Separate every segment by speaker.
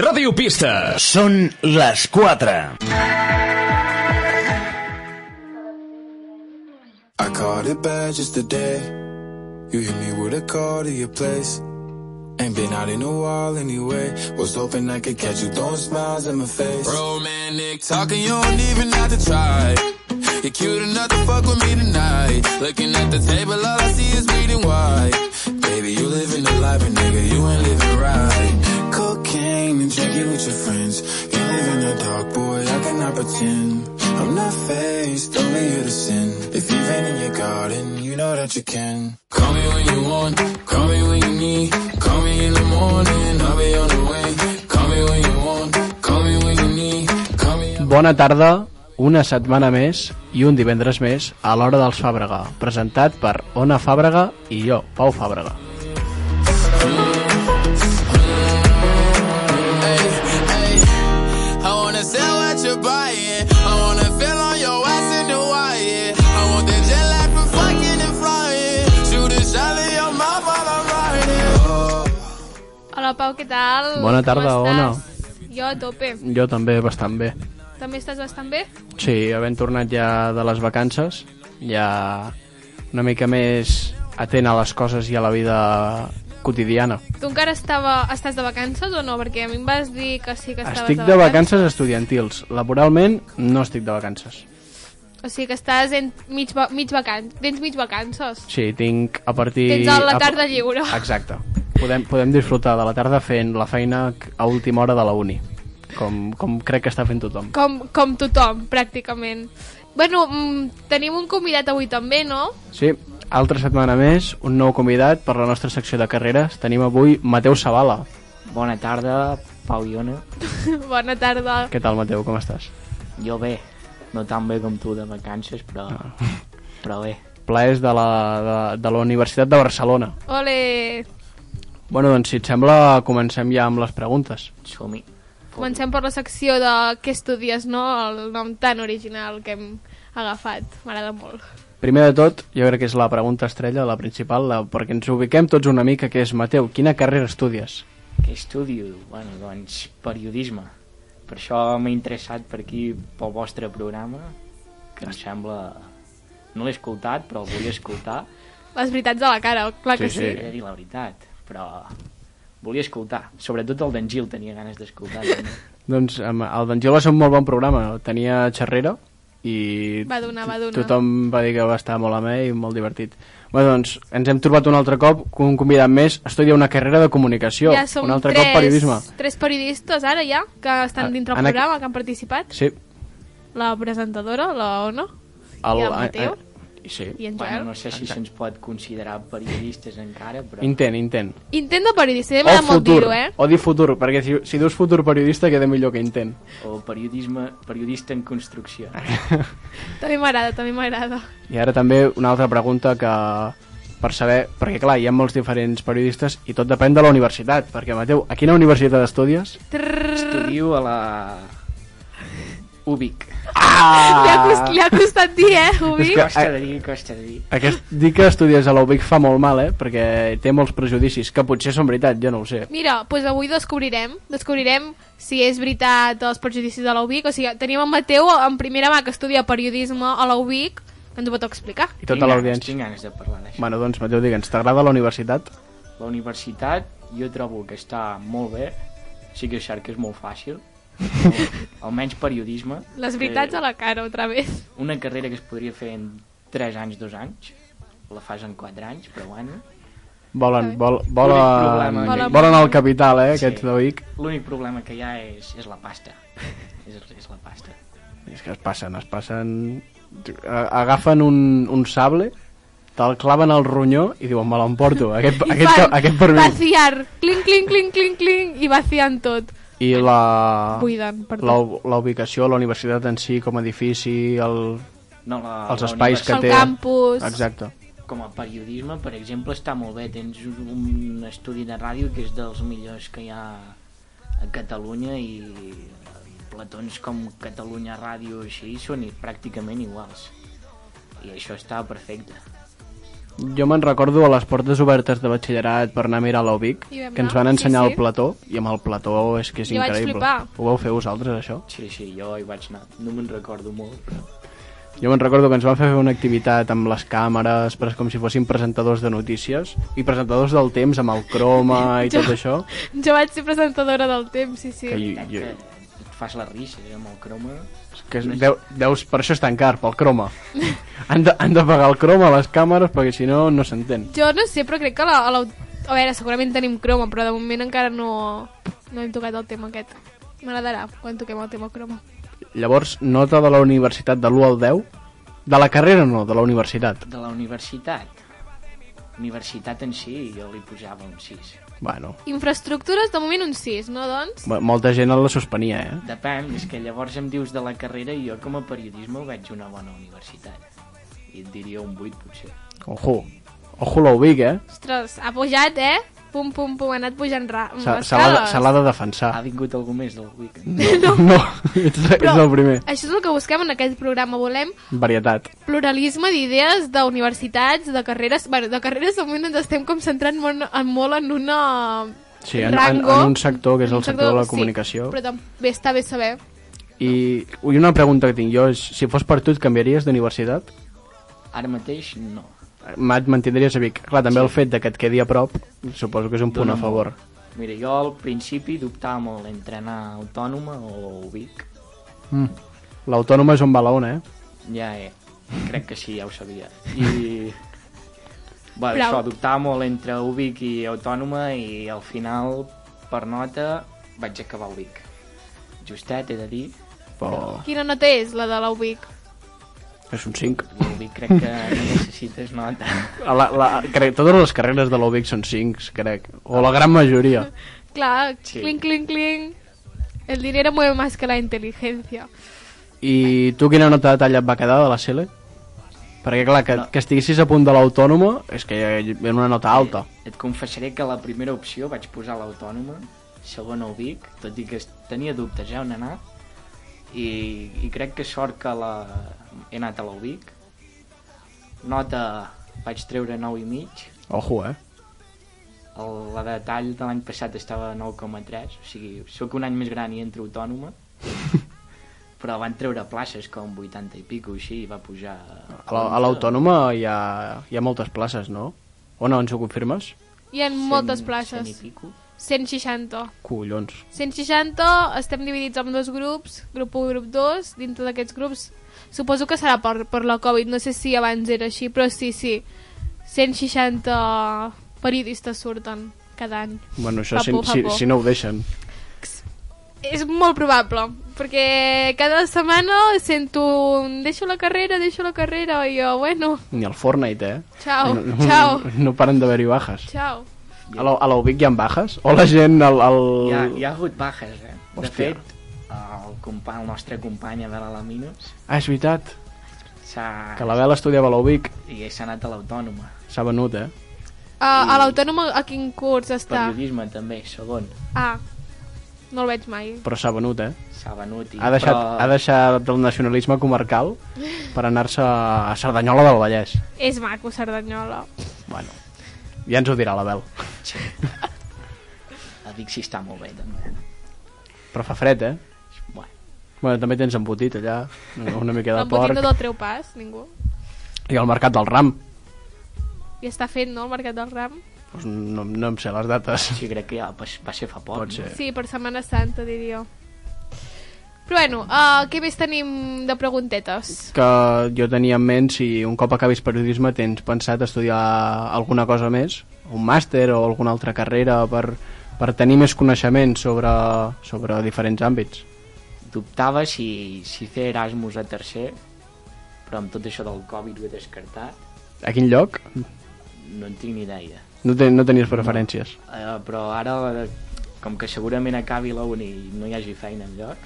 Speaker 1: Ràdio Pista.
Speaker 2: Són les 4.
Speaker 3: I caught it bad just today. You hit me with a call to your place. Ain't been out in a while anyway. Was hoping I could catch you throwing smiles in my face. Romantic talking, you don't even have to try. You're cute enough to fuck with me tonight. Looking at the table, all I see is bleeding white. Baby, you living the life, but nigga, you ain't living right. Cocaine and drinking with your friends. You live in the dark, boy, I cannot pretend. I'm not faced, only here to sin. If you've been in your garden, you know that you can. Call me when you want, call me when you need. Call me in the morning, I'll be on the way. Call me when you want, call me when you need. Call me.
Speaker 4: Bona tarda, una setmana més i un divendres més a l'Hora dels Fàbrega, presentat per Ona Fàbrega i jo, Pau Fàbrega.
Speaker 3: I wanna sell what you're buying. I wanna feel on your ass in Hawaii. I want that jet lag from fucking and flying. Shoot a shot in your mouth while I'm riding.
Speaker 5: Hola, Pau, què tal?
Speaker 4: Bona tarda,
Speaker 5: Com estàs?
Speaker 4: Ona.
Speaker 5: Jo a tope.
Speaker 4: Jo també bastant bé.
Speaker 5: També estàs bastant bé?
Speaker 4: Sí, havent tornat ja de les vacances, ja una mica més atent a les coses i a la vida quotidiana.
Speaker 5: Tu encara estava, estàs de vacances o no? Perquè a mi em vas dir que sí que estaves
Speaker 4: Estic de vacances estudiantils. Laboralment no estic de vacances.
Speaker 5: O sigui que estàs en mig, va- mig vacances. Tens mig vacances.
Speaker 4: Sí, tinc a partir...
Speaker 5: Tens a la
Speaker 4: a-
Speaker 5: tarda lliure.
Speaker 4: Exacte. Podem, podem disfrutar de la tarda fent la feina a última hora de la uni, com, com crec que està fent tothom.
Speaker 5: Com, com tothom, pràcticament. Bueno, mm, tenim un convidat avui també, no?
Speaker 4: Sí, altra setmana més, un nou convidat per la nostra secció de carreres. Tenim avui Mateu Sabala.
Speaker 6: Bona tarda, Pau i Ona.
Speaker 5: Bona tarda.
Speaker 4: Què tal, Mateu, com estàs?
Speaker 6: Jo bé, no tan bé com tu de vacances, però... Però bé.
Speaker 4: Plaers de la, de, de la Universitat de Barcelona.
Speaker 5: Ole,
Speaker 4: Bueno, doncs, si et sembla, comencem ja amb les preguntes.
Speaker 6: Som-hi.
Speaker 5: comencem per la secció de què estudies, no? El nom tan original que hem agafat. M'agrada molt.
Speaker 4: Primer de tot, jo crec que és la pregunta estrella, la principal, la, perquè ens ubiquem tots una mica, que és, Mateu, quina carrera estudies?
Speaker 6: Què estudio? Bueno, doncs, periodisme. Per això m'he interessat per aquí, pel vostre programa, que em sembla... No l'he escoltat, però el volia escoltar.
Speaker 5: Les veritats a la cara, clar que sí.
Speaker 6: He de dir la veritat, però... Volia escoltar. Sobretot el d'en Gil tenia ganes d'escoltar. també.
Speaker 4: Doncs amb el d'en Gil va ser un molt bon programa. Tenia xerrera i
Speaker 5: Va donar, va donar.
Speaker 4: tothom va dir que va estar molt amè i molt divertit. Bé, doncs, ens hem trobat un altre cop con un convidat més. Estudia una carrera de comunicació.
Speaker 5: Ja som
Speaker 4: un altre
Speaker 5: tres,
Speaker 4: cop periodisme.
Speaker 5: tres periodistes ara ja, que
Speaker 4: Ah,
Speaker 5: estan dintre el
Speaker 4: en aqu-
Speaker 5: programa, que han participat.
Speaker 4: Sí.
Speaker 5: La presentadora, la Ona, i el Mateu,
Speaker 4: eh, sí.
Speaker 5: i en
Speaker 6: bueno,
Speaker 5: Joel.
Speaker 6: no sé si se'ns pot considerar periodistes encara, però...
Speaker 4: Intent, intent.
Speaker 5: Intent de periodista, ja m'agrada molt
Speaker 4: futur,
Speaker 5: dir-ho, eh?
Speaker 4: o dir futur, perquè si, si dius futur periodista queda millor que intent.
Speaker 6: O periodisme, periodista en construcció.
Speaker 5: També m'agrada, també m'agrada.
Speaker 4: I ara també una altra pregunta que per saber, perquè clar, hi ha molts diferents periodistes i tot depèn de la universitat, perquè Mateu, a quina universitat estudies?
Speaker 6: Estudio a la... Ubic.
Speaker 5: Li, ha cost, li ha costat dir, eh,
Speaker 4: Ah.
Speaker 5: Ubi?
Speaker 4: que-
Speaker 6: Costa de dir, costa de dir.
Speaker 4: Aquest dir que estudies a la UBIC fa molt mal, eh? Perquè té molts prejudicis, que potser són veritat, jo no ho sé.
Speaker 5: Mira, doncs avui descobrirem, descobrirem si és veritat els prejudicis de la UBIC, o sigui, tenim en Mateu en primera mà que estudia periodisme a la UBIC, que ens ho pot explicar.
Speaker 4: I tota
Speaker 6: Tinc ganes,
Speaker 4: l'audiència.
Speaker 6: Tinc ganes de parlar d'això.
Speaker 4: Bueno, doncs, Mateu, digue'ns, t'agrada la universitat?
Speaker 6: La universitat jo trobo que està molt bé, sí que és cert que és molt fàcil, però almenys periodisme. Eh,
Speaker 5: Les veritats a la cara, otra vez.
Speaker 6: Una carrera que es podria fer en 3 anys, 2 anys, la fas en 4 anys, però bueno.
Speaker 4: Volen, vol,
Speaker 6: L'únic problema que hi
Speaker 4: volen,
Speaker 6: ha.
Speaker 4: volen el capital, eh, aquests
Speaker 6: Sí.
Speaker 4: de UBIC.
Speaker 6: L'únic problema que hi ha és, és la pasta. és, és la pasta.
Speaker 4: I És que es passen, es passen... a- Agafen un, un sable, te'l claven al ronyó i diuen, me l'emporto, aquest,
Speaker 5: I
Speaker 4: aquest,
Speaker 5: fan
Speaker 4: aquest per mi.
Speaker 5: Vaciar, clink, clink, clink, clink, clink, i vacien tot.
Speaker 4: I la,
Speaker 5: Buiden, perdó.
Speaker 4: la, la ubicació, la universitat en si, com a edifici, el,
Speaker 6: No, la,
Speaker 4: els
Speaker 6: la
Speaker 4: espais que
Speaker 5: El
Speaker 4: té...
Speaker 5: campus.
Speaker 4: Exacte.
Speaker 6: com a periodisme, per exemple, està molt bé. Tens un estudi de ràdio que és dels millors que hi ha a Catalunya i platons com Catalunya Ràdio així són i pràcticament iguals. I això està perfecte.
Speaker 4: Jo me'n recordo a les portes obertes de batxillerat per anar a mirar l'Ovic,
Speaker 5: I vam
Speaker 4: que ens
Speaker 5: anar,
Speaker 4: van
Speaker 5: sí,
Speaker 4: ensenyar
Speaker 5: sí.
Speaker 4: el plató, i amb el plató és que és
Speaker 5: Jo vaig
Speaker 4: increïble.
Speaker 5: flipar.
Speaker 4: Ho vau fer vosaltres, això?
Speaker 6: Sí, sí, jo hi vaig anar. No me'n recordo molt, però...
Speaker 4: Jo me'n recordo que ens van fer fer una activitat amb les càmeres, però és com si fossin presentadors de notícies, i presentadors del temps amb el croma i
Speaker 5: Jo-
Speaker 4: tot això.
Speaker 5: Jo vaig ser presentadora del temps, sí, sí.
Speaker 4: Que, jo,
Speaker 6: Jo...
Speaker 4: jo,
Speaker 6: Et fas la risa eh, amb el croma.
Speaker 4: que és- deu, deus, per això és tan car, pel croma. Han de, han de pagar el croma a les càmeres perquè si no, no s'entén.
Speaker 5: Jo no sé, però crec que la, a la... A veure, segurament tenim croma, però de moment encara no, no hem tocat el tema aquest. M'agradarà quan toquem el tema croma.
Speaker 4: Llavors, nota de la universitat de l'1 al 10? De la carrera no, de la universitat.
Speaker 6: De la universitat. Universitat en si, jo li posava un 6.
Speaker 4: Bueno,
Speaker 5: Infraestructures, de moment un 6, no, doncs?
Speaker 4: mo- molta gent la suspenia, eh?
Speaker 6: Depèn, és que llavors em dius de la carrera i jo com a periodisme ho veig una bona universitat. I et diria un 8, potser.
Speaker 4: Ojo. Ojo l'Ubic, eh?
Speaker 5: Ostres, ha pujat, eh? Pum, pum, pum, ha anat pujant ra...
Speaker 4: Se
Speaker 5: les
Speaker 4: se l'ha de-
Speaker 5: escales.
Speaker 4: se l'ha de defensar.
Speaker 6: Ha vingut algú més del weekend?
Speaker 4: No, no. ets, ets el primer.
Speaker 5: Això és el que busquem en aquest programa. Volem
Speaker 4: Varietat.
Speaker 5: pluralisme d'idees d'universitats, de carreres... Bueno, de carreres de moment ens estem com centrant molt en, molt en una...
Speaker 4: Sí, en- en-
Speaker 5: rango,
Speaker 4: en un sector, que és
Speaker 5: en un
Speaker 4: el sector de la comunicació.
Speaker 5: Sí, però també està bé saber.
Speaker 4: I ui, una pregunta que tinc jo és, si fos per tu et canviaries d'universitat?
Speaker 6: Ara mateix, no.
Speaker 4: Ma- Et mantindries a Vic. Clar, també el fet de que et quedi a prop, suposo que és un punt a favor.
Speaker 6: Mira, jo al principi dubtava molt entre anar a Autònoma o Vic.
Speaker 4: L'autònoma és on va la ona, eh?
Speaker 6: Ja, eh, crec que sí, ja ho sabia. I... Bé,
Speaker 5: Bravo.
Speaker 6: això, dubtava molt entre Ubic i Autònoma i al final, per nota, vaig acabar Ubic. Justet, he de dir,
Speaker 4: Però
Speaker 5: Quina nota és la de la UBIC?
Speaker 4: és un 5.
Speaker 6: Ubic crec que no necessites nota.
Speaker 4: La, la, crec, totes les carreres de l'Ubic són 5, crec. O la gran majoria.
Speaker 5: Clar,
Speaker 6: Sí.
Speaker 5: clink, clink, clink. El dinero mueve más que la inteligencia.
Speaker 4: I tu quina nota de talla et va quedar de la Sele? Perquè clar, que, que estiguessis a punt de l'autònoma és que en una nota alta.
Speaker 6: Eh, Et confessaré que la primera opció vaig posar l'Autònoma, segona Ubic, tot i que es- tenia dubtes ja on anar, i, i crec que sort que la... he anat a l'Ubic. Nota vaig treure 9 i mig,
Speaker 4: Ojo, eh?
Speaker 6: El, la de tall de l'any passat estava a 9,3, o sigui, sóc un any més gran i entro autònoma, però van treure places com 80 i pico, així, i va pujar...
Speaker 4: A la- a l'autònoma hi, ha, hi ha moltes places, no? O no, ens ho confirmes?
Speaker 5: Hi ha moltes places.
Speaker 6: 100 i pico.
Speaker 5: 160.
Speaker 4: Collons.
Speaker 5: 160, estem dividits en dos grups, grup 1 i grup 2. Dintre d'aquests grups, suposo que serà per, per la Covid, no sé si abans era així, però sí, sí. 160 periodistes surten cada any.
Speaker 4: Bueno, això
Speaker 5: Fa
Speaker 4: si,
Speaker 5: por, fa
Speaker 4: si,
Speaker 5: por.
Speaker 4: si no ho deixen.
Speaker 5: És molt probable, perquè cada setmana sento un deixo la carrera, deixo la carrera, i jo, bueno,
Speaker 4: Ni el Fortnite, eh?
Speaker 5: Chao,
Speaker 4: no,
Speaker 5: chao.
Speaker 4: No, no paren d'haver-hi bajes.
Speaker 5: ciao.
Speaker 4: A la- a l'Ubic hi ha bajes? O la gent... El, el...
Speaker 6: Hi ha, hi ha hagut bajes, eh? Hòstia. De
Speaker 4: Hòstia.
Speaker 6: fet, el, compa el nostre company Abel Alaminos
Speaker 4: Ah, és veritat.
Speaker 6: s'ha
Speaker 4: Que la Bela estudiava a l'Ubic.
Speaker 6: i s'ha anat a l'Autònoma.
Speaker 4: S'ha venut, eh?
Speaker 5: A, a l'autònoma a quin curs està?
Speaker 6: Periodisme també, segon,
Speaker 5: Ah, no el veig mai.
Speaker 4: Però s'ha venut, eh?
Speaker 6: s'ha venut. I,
Speaker 4: Ha deixat,
Speaker 6: però...
Speaker 4: ha deixat el nacionalisme comarcal per anar-se a Cerdanyola del Vallès.
Speaker 5: És maco, Cerdanyola.
Speaker 4: Bueno, ja ens ho dirà la Bel.
Speaker 6: A Vic sí està molt bé, també.
Speaker 4: Però fa fred, eh?
Speaker 6: Bueno,
Speaker 4: Bueno, també tens embotit allà, una mica de
Speaker 5: L'embotit no
Speaker 4: porc.
Speaker 5: del treu pas, ningú.
Speaker 4: I el mercat del ram.
Speaker 5: I està fent, no, el Mercat del Ram?
Speaker 4: Pues no, no em sé les dates.
Speaker 6: sí, crec que ja va, va ser fa poc.
Speaker 4: Pot ser.
Speaker 5: Sí, per Setmana Santa, diria. Però bueno, uh, què més tenim de preguntetes?
Speaker 4: Que jo tenia en ment si un cop acabis periodisme tens pensat estudiar alguna cosa més, un màster o alguna altra carrera per, per tenir més coneixement sobre, sobre diferents àmbits.
Speaker 6: dubtava si, si fer Erasmus a tercer, però amb tot això del Covid ho he descartat,
Speaker 4: A quin lloc?
Speaker 6: no en tinc ni idea.
Speaker 4: No, te, no tenies preferències.
Speaker 6: Uh, però ara, com que segurament acabi la uni i no hi hagi feina enlloc,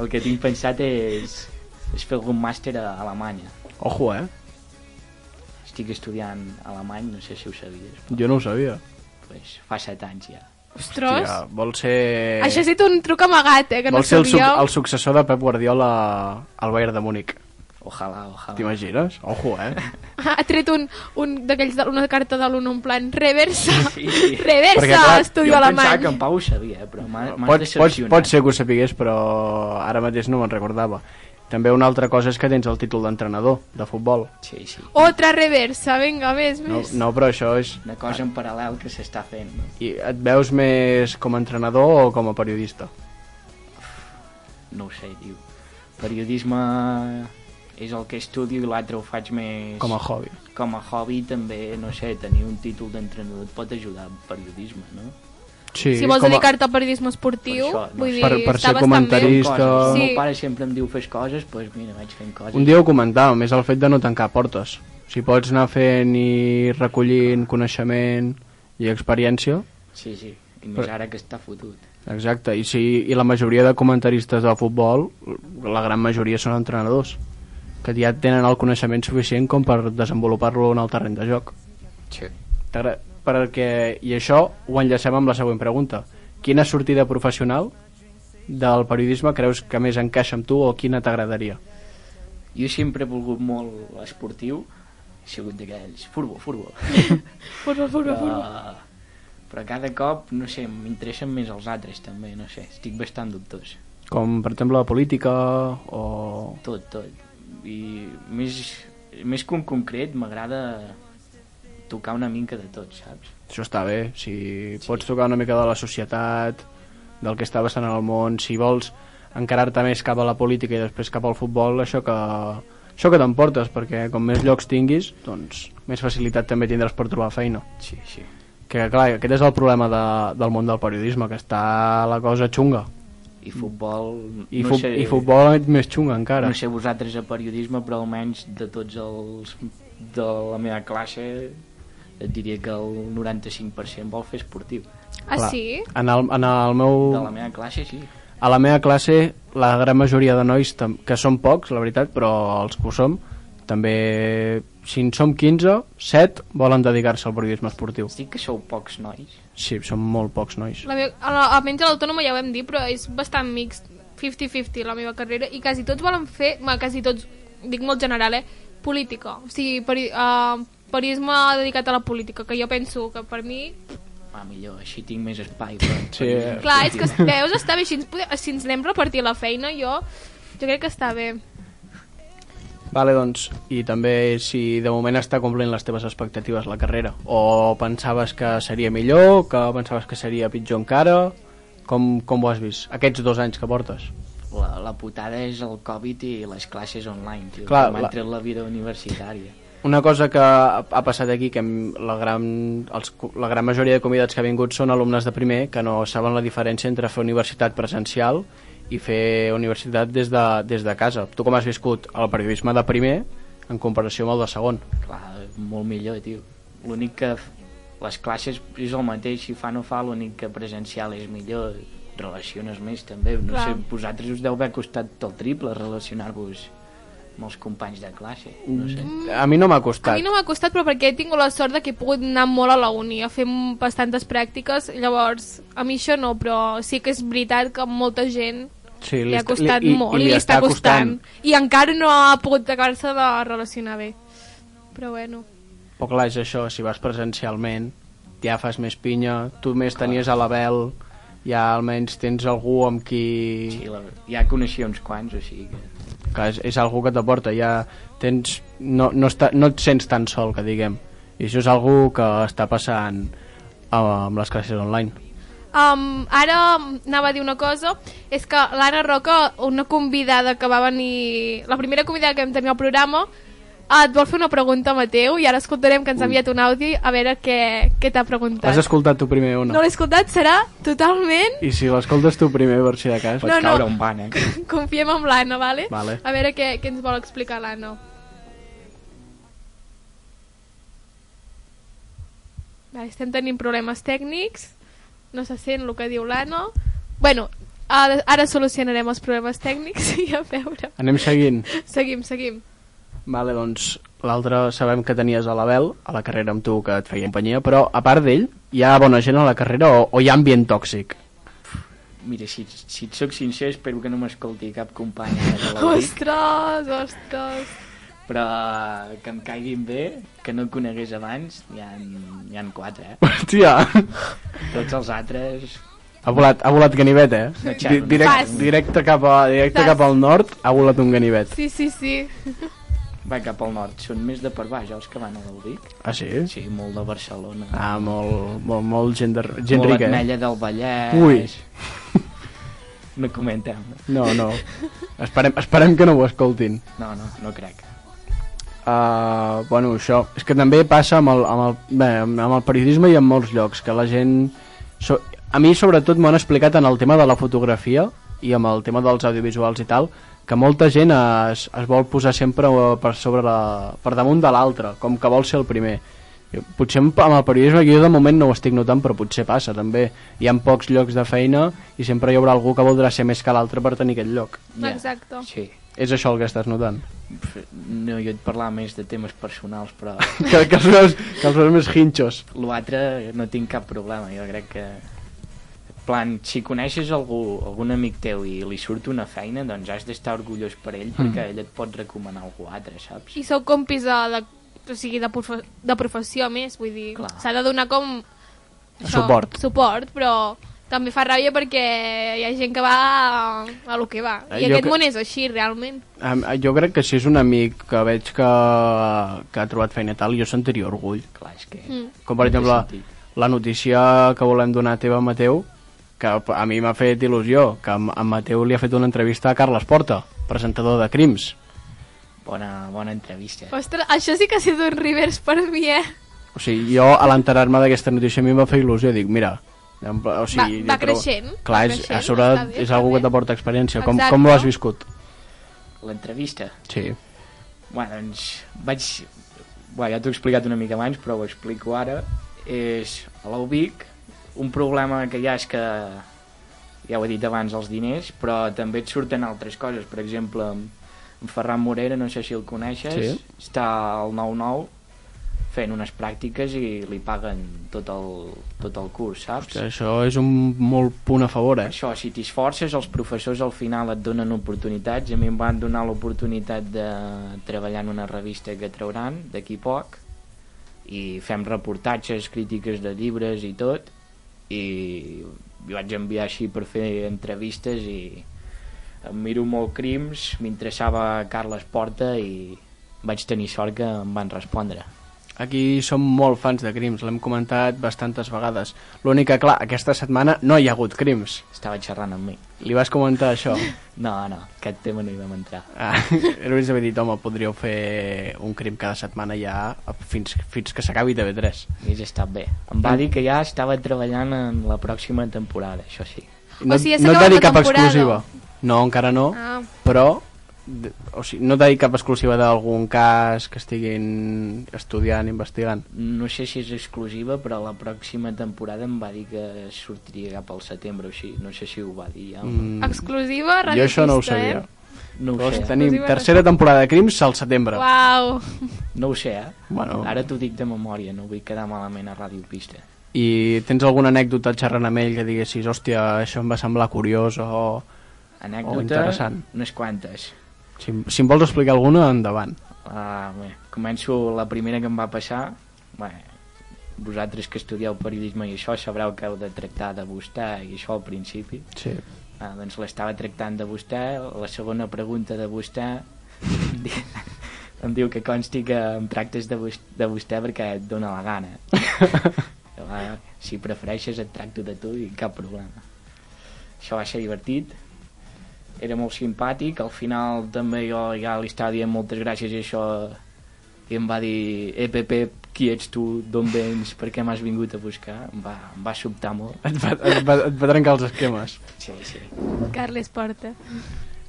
Speaker 6: el que tinc pensat és, és fer algun màster a Alemanya.
Speaker 4: Ojo, eh?
Speaker 6: Estic estudiant alemany, no sé si ho sabies,
Speaker 4: Jo no ho sabia.
Speaker 6: però pues, fa set anys ja.
Speaker 5: Ostres,
Speaker 4: Hòstia, vol ser...
Speaker 5: això ha estat un truc amagat, eh, que no
Speaker 4: Vol ser el, suc
Speaker 5: sabíeu.
Speaker 4: el successor de Pep Guardiola al Bayern de Múnich.
Speaker 6: Ojalà, ojalà.
Speaker 4: T'imagines? Ojo, eh?
Speaker 5: Ha tret un, un d'aquells, de- una carta de l'un en plan reversa,
Speaker 6: Sí, sí.
Speaker 4: Perquè,
Speaker 5: reversa,
Speaker 4: clar,
Speaker 5: estudio
Speaker 6: jo em pensava
Speaker 5: alemany.
Speaker 6: que en Pau ho sabia, però m'ha m'ha
Speaker 4: Pot, pot,
Speaker 6: decepcionat.
Speaker 4: pot ser que ho sapigués, però ara mateix no me'n recordava. També una altra cosa és que tens el títol d'entrenador de futbol.
Speaker 6: Sí, sí.
Speaker 5: Otra reversa, vinga, més,
Speaker 4: No,
Speaker 5: més.
Speaker 4: no, però això és...
Speaker 6: Una cosa en paral·lel que s'està fent. no?
Speaker 4: I et veus més com a entrenador o com a periodista?
Speaker 6: No ho sé, diu. Periodisme és el que estudio i l'altre ho faig més...
Speaker 4: Com a hobby.
Speaker 6: com a hobby també, no sé, tenir un títol d'entrenador et pot ajudar en periodisme, no?
Speaker 4: Sí,
Speaker 5: si vols
Speaker 4: com a-
Speaker 5: dedicar-te al periodisme esportiu,
Speaker 6: Per això, no
Speaker 5: vull
Speaker 6: sé.
Speaker 5: dir,
Speaker 4: Per- per
Speaker 5: està
Speaker 4: ser
Speaker 5: bastant
Speaker 4: comentarista.
Speaker 5: bé.
Speaker 6: Coses. El
Speaker 5: Sí.
Speaker 6: meu pare sempre em diu fes coses, doncs mira, vaig fent coses.
Speaker 4: Un dia ho comentàvem, és el fet de no tancar portes. Si pots anar fent i recollint coneixement i experiència,
Speaker 6: Sí, sí, i més ara que està fotut.
Speaker 4: exacte, i, si, i la majoria de comentaristes de futbol, la gran majoria són entrenadors, que ja tenen el coneixement suficient com per desenvolupar-lo en el terreny de joc.
Speaker 6: Sí.
Speaker 4: T'agra- Perquè, I això ho enllacem amb la següent pregunta. Quina sortida professional del periodisme creus que més encaixa amb tu o quina t'agradaria?
Speaker 6: Jo sempre he volgut molt esportiu, he sigut d'aquells, furbo, furbo.
Speaker 5: Furba, furba,
Speaker 6: però,
Speaker 5: furba.
Speaker 6: però cada cop, no sé, m'interessen més els altres també, no sé, estic bastant dubtós.
Speaker 4: Com, per exemple, la política o...
Speaker 6: Tot, tot. I més, més que un concret, m'agrada tocar una mica de tot, saps?
Speaker 4: Això està bé, si pots tocar una mica de la societat, del que està passant al món, si vols encarar-te més cap a la política i després cap al futbol, això que, això que t'emportes, perquè com més llocs tinguis, doncs més facilitat també tindràs per trobar feina.
Speaker 6: Sí, sí.
Speaker 4: Que clar, aquest és el problema de, del món del periodisme, que està la cosa xunga.
Speaker 6: I futbol...
Speaker 4: I,
Speaker 6: no
Speaker 4: fu
Speaker 6: sé,
Speaker 4: i futbol més xunga encara.
Speaker 6: No sé vosaltres a periodisme, però almenys de tots els de la meva classe et diria que el 95% vol fer esportiu.
Speaker 5: Ah, sí?
Speaker 4: En el, en el meu...
Speaker 6: De la meva classe, sí.
Speaker 4: A la meva classe, la gran majoria de nois, tam- que són pocs, la veritat, però els que ho som, també, si en som 15, 7 volen dedicar-se al periodisme esportiu.
Speaker 6: Estic que sou pocs nois.
Speaker 4: Sí, són molt pocs nois.
Speaker 5: La meva, a la, almenys a l'autònoma ja ho vam dir, però és bastant mixt, 50-50 la meva carrera, i quasi tots volen fer, ma, quasi tots, dic molt general, eh, política. O sigui, peri, uh, periodisme dedicat a la política, que jo penso que per mi...
Speaker 6: Ah, millor, així tinc més espai. Per,
Speaker 4: Sí,
Speaker 6: per-
Speaker 4: eh.
Speaker 5: Clar, és que veus, està bé, així ens, podem, així ens anem repartir la feina, jo... Jo crec que està bé.
Speaker 4: Vale, doncs, i també si de moment està complint les teves expectatives la carrera, o pensaves que seria millor, que pensaves que seria pitjor encara, com, com ho has vist? Aquests dos anys que portes?
Speaker 6: La, la putada és el Covid i les classes online, tio.
Speaker 4: Clar,
Speaker 6: Clar, m'han
Speaker 4: la-
Speaker 6: tret la vida universitària.
Speaker 4: Una cosa que ha ha passat aquí, que hem- la gran, els, co- la gran majoria de convidats que ha vingut són alumnes de primer que no saben la diferència entre fer universitat presencial i fer universitat des de, des de casa. Tu com has viscut el periodisme de primer en comparació amb el de segon?
Speaker 6: Clar, molt millor, tio. L'únic que f- les classes és el mateix, si fa no fa, l'únic que presencial és millor, relaciones més també. No
Speaker 5: Clar.
Speaker 6: sé, vosaltres us deu haver costat el triple relacionar-vos amb els companys de classe, no
Speaker 5: Mm.
Speaker 6: sé.
Speaker 4: A mi no m'ha
Speaker 5: A
Speaker 4: costat.
Speaker 5: mi no m'ha costat, però perquè he tingut la sort de que he pogut anar molt a la uni, a fer m- bastantes pràctiques, llavors, a mi això no, però sí que és veritat que molta gent
Speaker 4: Sí,
Speaker 5: li ha
Speaker 4: est-
Speaker 5: costat
Speaker 4: i- i
Speaker 5: molt, li, està costant. I encara no ha pogut acabar-se de relacionar bé. Però bueno,
Speaker 4: Però clar, és això, si vas presencialment ja fas més pinya, tu més tenies a l'Abel, ja almenys tens algú amb qui...
Speaker 6: Sí, la, ja coneixia uns quants, o sigui que...
Speaker 4: que és, és algú que t'aporta ja tens, no, no, està, no et sents tan sol que diguem, i això és algú que està passant eh, amb les classes online
Speaker 5: um, ara anava a dir una cosa, és que l'Anna Roca, una convidada que va venir... La primera convidada que vam tenir al programa, et vol fer una pregunta, Mateu, i ara escoltarem que ens ha enviat un àudio a veure què, què t'ha preguntat.
Speaker 4: l'has escoltat tu primer o
Speaker 5: No,
Speaker 4: no?
Speaker 5: l'he escoltat, serà totalment...
Speaker 4: i si l'escoltes tu primer per si de cas
Speaker 6: Pot
Speaker 5: No, no.
Speaker 6: caure un eh? bànec.
Speaker 5: Confiem en l'Anna, vale?
Speaker 4: Vale.
Speaker 5: A veure què, què ens vol explicar l'Anna. Vale, estem tenint problemes tècnics, no se sent el que diu l'Anna. Bueno, ara, ara solucionarem els problemes tècnics i a veure.
Speaker 4: anem seguint
Speaker 5: Seguim, seguim.
Speaker 4: Vale, doncs l'altre sabem que tenies a l'Abel, a la carrera amb tu, que et feia companyia, però a part d'ell, hi ha bona gent a la carrera o, o hi ha ambient tòxic?
Speaker 6: Mira, si, si et soc sincer, espero que no m'escolti cap company de la UIC,
Speaker 5: Ostres, ostres.
Speaker 6: però que em caiguin bé, que no conegués abans, hi ha, hi ha quatre, eh?
Speaker 4: Hòstia,
Speaker 6: Tots els altres...
Speaker 4: ha volat, ha volat ganivet, eh?
Speaker 6: No xerro,
Speaker 4: Di
Speaker 6: no.
Speaker 4: direct,
Speaker 5: Fas.
Speaker 4: directe, cap a, directe
Speaker 5: Fas.
Speaker 4: cap al nord ha volat un ganivet.
Speaker 5: Sí, sí, sí.
Speaker 6: Va cap al nord, són més de per baix, els que van a l'Ubic.
Speaker 4: Ah, sí?
Speaker 6: Sí, molt de Barcelona.
Speaker 4: Ah, molt, molt, molt gent, de, gent
Speaker 6: molt
Speaker 4: rica, eh?
Speaker 6: Ametlla del Vallès.
Speaker 4: Ui.
Speaker 6: No comentem.
Speaker 4: No, no. Esperem, esperem que no ho escoltin.
Speaker 6: No, no, no crec.
Speaker 4: Uh, bueno, això és que també passa amb el, amb, el, bé, amb amb el periodisme i en molts llocs que la gent so, a mi sobretot m'ho han explicat en el tema de la fotografia i amb el tema dels audiovisuals i tal que molta gent es, es vol posar sempre eh, per, sobre la, per damunt de l'altre com que vol ser el primer Jo- potser amb amb el periodisme que jo de moment no ho estic notant però potser passa també hi ha pocs llocs de feina i sempre hi haurà algú que voldrà ser més que l'altre per tenir aquest lloc
Speaker 6: Ja.
Speaker 5: Exacte.
Speaker 6: Sí.
Speaker 4: és això el que estàs notant
Speaker 6: Pf, No, jo et parlava més de temes personals, però
Speaker 4: que, que, els veus, que els veus més hinxos
Speaker 6: l'altre no tinc cap problema. Jo crec que... en Plan, si coneixes algú, algun amic teu i li surt una feina, doncs has d'estar orgullós per ell perquè ell et pot recomanar algú altre, saps?
Speaker 5: I sou compis de, de, o sigui, de, profe de professió més, vull dir,
Speaker 6: Clar.
Speaker 5: s'ha de donar com...
Speaker 4: Suport.
Speaker 5: Suport, però també fa ràbia perquè hi ha gent que va a, a lo que va.
Speaker 4: Eh,
Speaker 5: I
Speaker 4: jo
Speaker 5: aquest
Speaker 4: que-
Speaker 5: món és així, realment.
Speaker 4: Em- Jo crec que si és un amic que veig que, que ha trobat feina i tal, jo sentiria orgull.
Speaker 6: Clar, és que...
Speaker 5: Mm.
Speaker 4: Com per
Speaker 6: En què
Speaker 4: exemple,
Speaker 6: sentit?
Speaker 4: la notícia que volem donar a teva Mateu, que p- a mi m'ha fet il·lusió, que a a Mateu li ha fet una entrevista a Carles Porta, presentador de Crims.
Speaker 6: Bona, bona entrevista.
Speaker 5: Ostres, això sí que ha sigut un revers per mi, eh?
Speaker 4: O sigui, jo a l'enterar-me d'aquesta notícia a mi em va fer il·lusió, dic, mira... em pla- O sigui,
Speaker 5: Va-
Speaker 4: jo
Speaker 5: va
Speaker 4: trobo-
Speaker 5: creixent,
Speaker 4: Clar,
Speaker 5: va
Speaker 4: és,
Speaker 5: creixent,
Speaker 4: a sobre
Speaker 5: està bé,
Speaker 4: és
Speaker 5: està
Speaker 4: algú que
Speaker 5: bé.
Speaker 4: t'aporta experiència. Com,
Speaker 5: Exacte.
Speaker 4: com ho has viscut?
Speaker 6: L'entrevista.
Speaker 4: Sí.
Speaker 6: Bueno, doncs vaig... Bé, ja t'ho he explicat una mica abans, però ho explico ara. És a l'Ubic, un problema que hi ha és que, ja ho he dit abans, els diners, però també et surten altres coses. Per exemple, en Ferran Morera, no sé si el coneixes,
Speaker 4: Sí.
Speaker 6: està al 9-9 fent unes pràctiques i li paguen tot el, tot el curs, saps?
Speaker 4: Que això és un molt punt a favor, eh?
Speaker 6: això, si t'esforces, els professors al final et donen oportunitats. A mi em van donar l'oportunitat de treballar en una revista que trauran d'aquí poc i fem reportatges, crítiques de llibres i tot i jo vaig enviar així per fer entrevistes i em miro molt crims, m'interessava Carles Porta i vaig tenir sort que em van respondre.
Speaker 4: Aquí som molt fans de crims, l'hem comentat bastantes vegades. L'únic que, clar, aquesta setmana no hi ha hagut crims.
Speaker 6: Estava xerrant amb mi.
Speaker 4: Li vas comentar això.
Speaker 6: No, no, aquest tema no hi vam entrar.
Speaker 4: Ah, Hauries d'haver dit, home, podríeu fer un crim cada setmana ja fins, fins que s'acabi TV3.
Speaker 6: Hagués estat bé. Em
Speaker 4: Ah.
Speaker 6: va dir que ja estava treballant en la pròxima temporada, això sí.
Speaker 5: O sigui, ja
Speaker 4: no et
Speaker 5: s'acaba
Speaker 4: va dir
Speaker 5: la
Speaker 4: cap
Speaker 5: temporada.
Speaker 4: exclusiva. No, encara no,
Speaker 5: Ah.
Speaker 4: però d- o sigui, no t'ha dit cap exclusiva d'algun cas que estiguin estudiant, investigant.
Speaker 6: No sé si és exclusiva, però la pròxima temporada em va dir que sortiria cap al setembre o així. No sé si ho va dir ja. Mm,
Speaker 4: Mm,
Speaker 5: Exclusiva,
Speaker 4: jo això no ho
Speaker 5: radiofista, eh?
Speaker 4: sabia.
Speaker 6: no ho
Speaker 4: Llavors
Speaker 6: sé.
Speaker 4: tenim
Speaker 5: Exclusiva
Speaker 4: tercera temporada de crims al setembre.
Speaker 5: Eh? Uau.
Speaker 6: No ho sé, eh?
Speaker 4: Bueno.
Speaker 6: Ara t'ho dic de memòria, no vull quedar malament a Ràdio Pista.
Speaker 4: I tens alguna anècdota xerrant amb ell que diguessis, hòstia, això em va semblar curiós o... Oh,
Speaker 6: Anècdota,
Speaker 4: interessant.
Speaker 6: unes quantes.
Speaker 4: Si, si em vols explicar alguna, endavant.
Speaker 6: Ah, bé, començo la primera que em va passar. Bé, vosaltres que estudieu periodisme i això sabreu que heu de tractar de vostè i això al principi.
Speaker 4: Sí.
Speaker 6: Ah, doncs l'estava tractant de vostè, la segona pregunta de vostè di- em diu que consti que em tractes de, vos de vostè perquè et dóna la gana. Jo, "Ah, si prefereixes et tracto de tu i cap problema. Això va ser divertit, era molt simpàtic, al final també jo ja li estava dient moltes gràcies i això i em va dir, eh Pep, qui ets tu, d'on vens, per què m'has vingut a buscar? Em va, em va sobtar molt.
Speaker 4: Et va, et, va, et va trencar els esquemes.
Speaker 6: Sí, sí.
Speaker 5: Carles Porta.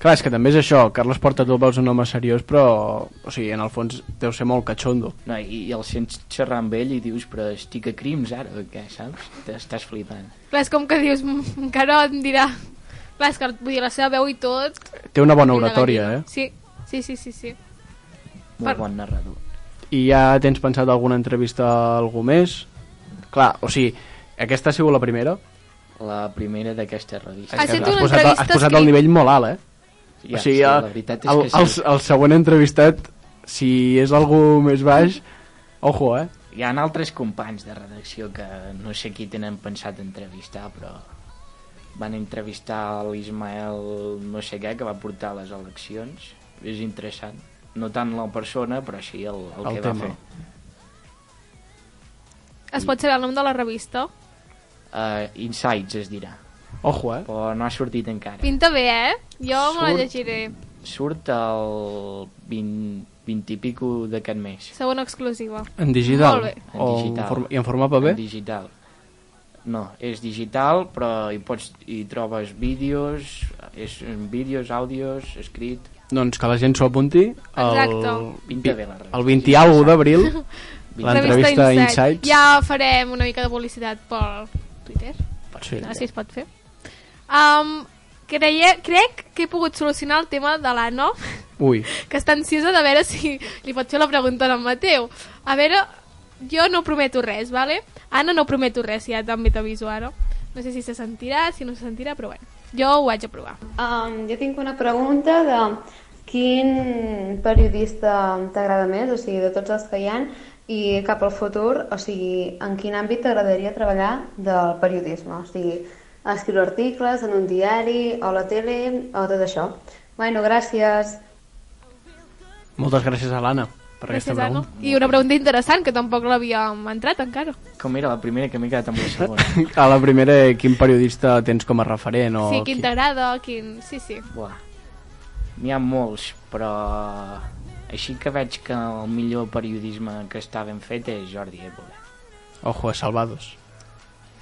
Speaker 4: Clar, és que també és això, Carles Porta tu el veus un home seriós, però, o sigui, en el fons deu ser molt catxondo.
Speaker 6: No, i, i el sents xerrar amb ell i dius, però estic a crims ara, o què, saps? T'estàs flipant.
Speaker 5: Clar, és com que dius, "Mm, encara em dirà... Clar, és que vull dir, la seva veu i tot...
Speaker 4: Té una bona
Speaker 5: crida
Speaker 4: oratòria,
Speaker 5: gallina.
Speaker 4: eh?
Speaker 5: Sí, sí, sí, sí. sí.
Speaker 6: Molt
Speaker 5: Per-
Speaker 6: bon narrador.
Speaker 4: eh? I ja tens pensat alguna entrevista a algú més? Clar, o sigui, aquesta ha sigut la primera,
Speaker 6: la primera d'aquesta revista.
Speaker 5: Ha sigut
Speaker 4: has,
Speaker 5: una
Speaker 4: posat,
Speaker 5: entrevista
Speaker 4: has posat el
Speaker 5: escrita.
Speaker 4: nivell molt alt, eh?
Speaker 6: Ja,
Speaker 4: o sigui,
Speaker 6: sí,
Speaker 4: ja,
Speaker 6: la veritat és
Speaker 4: el,
Speaker 6: que
Speaker 4: el,
Speaker 6: sí.
Speaker 4: el següent entrevistat, si és algú més baix, ojo, eh?
Speaker 6: Hi ha altres companys de redacció que no sé qui tenen pensat entrevistar, però van entrevistar l'Ismael no sé què, que va portar a les eleccions. És interessant. No tant la persona, però sí el, el,
Speaker 4: El
Speaker 6: que
Speaker 4: tema.
Speaker 6: va fer.
Speaker 5: Es pot saber el nom de la revista?
Speaker 6: Uh, Insights es dirà,
Speaker 4: Ojo, eh?
Speaker 6: però no ha sortit encara.
Speaker 5: Pinta bé, eh? Jo me la
Speaker 6: Surt.
Speaker 5: llegiré.
Speaker 6: Surt el 20, 20 i pico d'aquest mes.
Speaker 5: Segona exclusiva.
Speaker 4: En digital?
Speaker 5: Molt bé.
Speaker 6: En
Speaker 4: O en
Speaker 6: digital.
Speaker 4: forma, I en format paper?
Speaker 6: En digital. No, és digital, però hi, pots, hi trobes vídeos, és, vídeos, àudios, escrit...
Speaker 4: Doncs que la gent s'ho apunti el,
Speaker 5: Exacte.
Speaker 6: Pinta bé la revista.
Speaker 4: el 20 i algo d'abril l'entrevista
Speaker 5: Revista
Speaker 4: a Insights
Speaker 5: Ja farem una mica de publicitat pel Twitter,
Speaker 4: sí.
Speaker 5: no sé si es pot fer. Um, creia, crec que he pogut solucionar el tema de l'Anna,
Speaker 4: Ui,
Speaker 5: que està ansiosa de veure si li pot fer la pregunta a en Mateu. A veure, jo no prometo res, vale? Anna no prometo res, ja també t'aviso ara. No sé si se sentirà, si no se sentirà, però bueno, jo ho vaig a provar.
Speaker 1: Um, jo tinc una pregunta de quin periodista t'agrada més, o sigui, de tots els que hi han, i cap al futur, o sigui, en quin àmbit t'agradaria treballar del periodisme? O sigui, escriure articles en un diari, o la tele, o tot això. Bueno, gràcies.
Speaker 4: moltes gràcies a l'Anna per aquesta
Speaker 5: Gràcies, Anna.
Speaker 4: pregunta.
Speaker 5: I una pregunta interessant, que tampoc l'havíem entrat encara.
Speaker 6: Com era la primera que m'he quedat amb la segona?
Speaker 4: A la primera, quin periodista tens com a referent? O
Speaker 5: sí, quin t'agrada, quin... Sí, sí.
Speaker 6: Buah. N'hi ha molts, però... Així que veig que el millor periodisme que està ben fet és Jordi Évole.
Speaker 4: Ojo, a Salvados.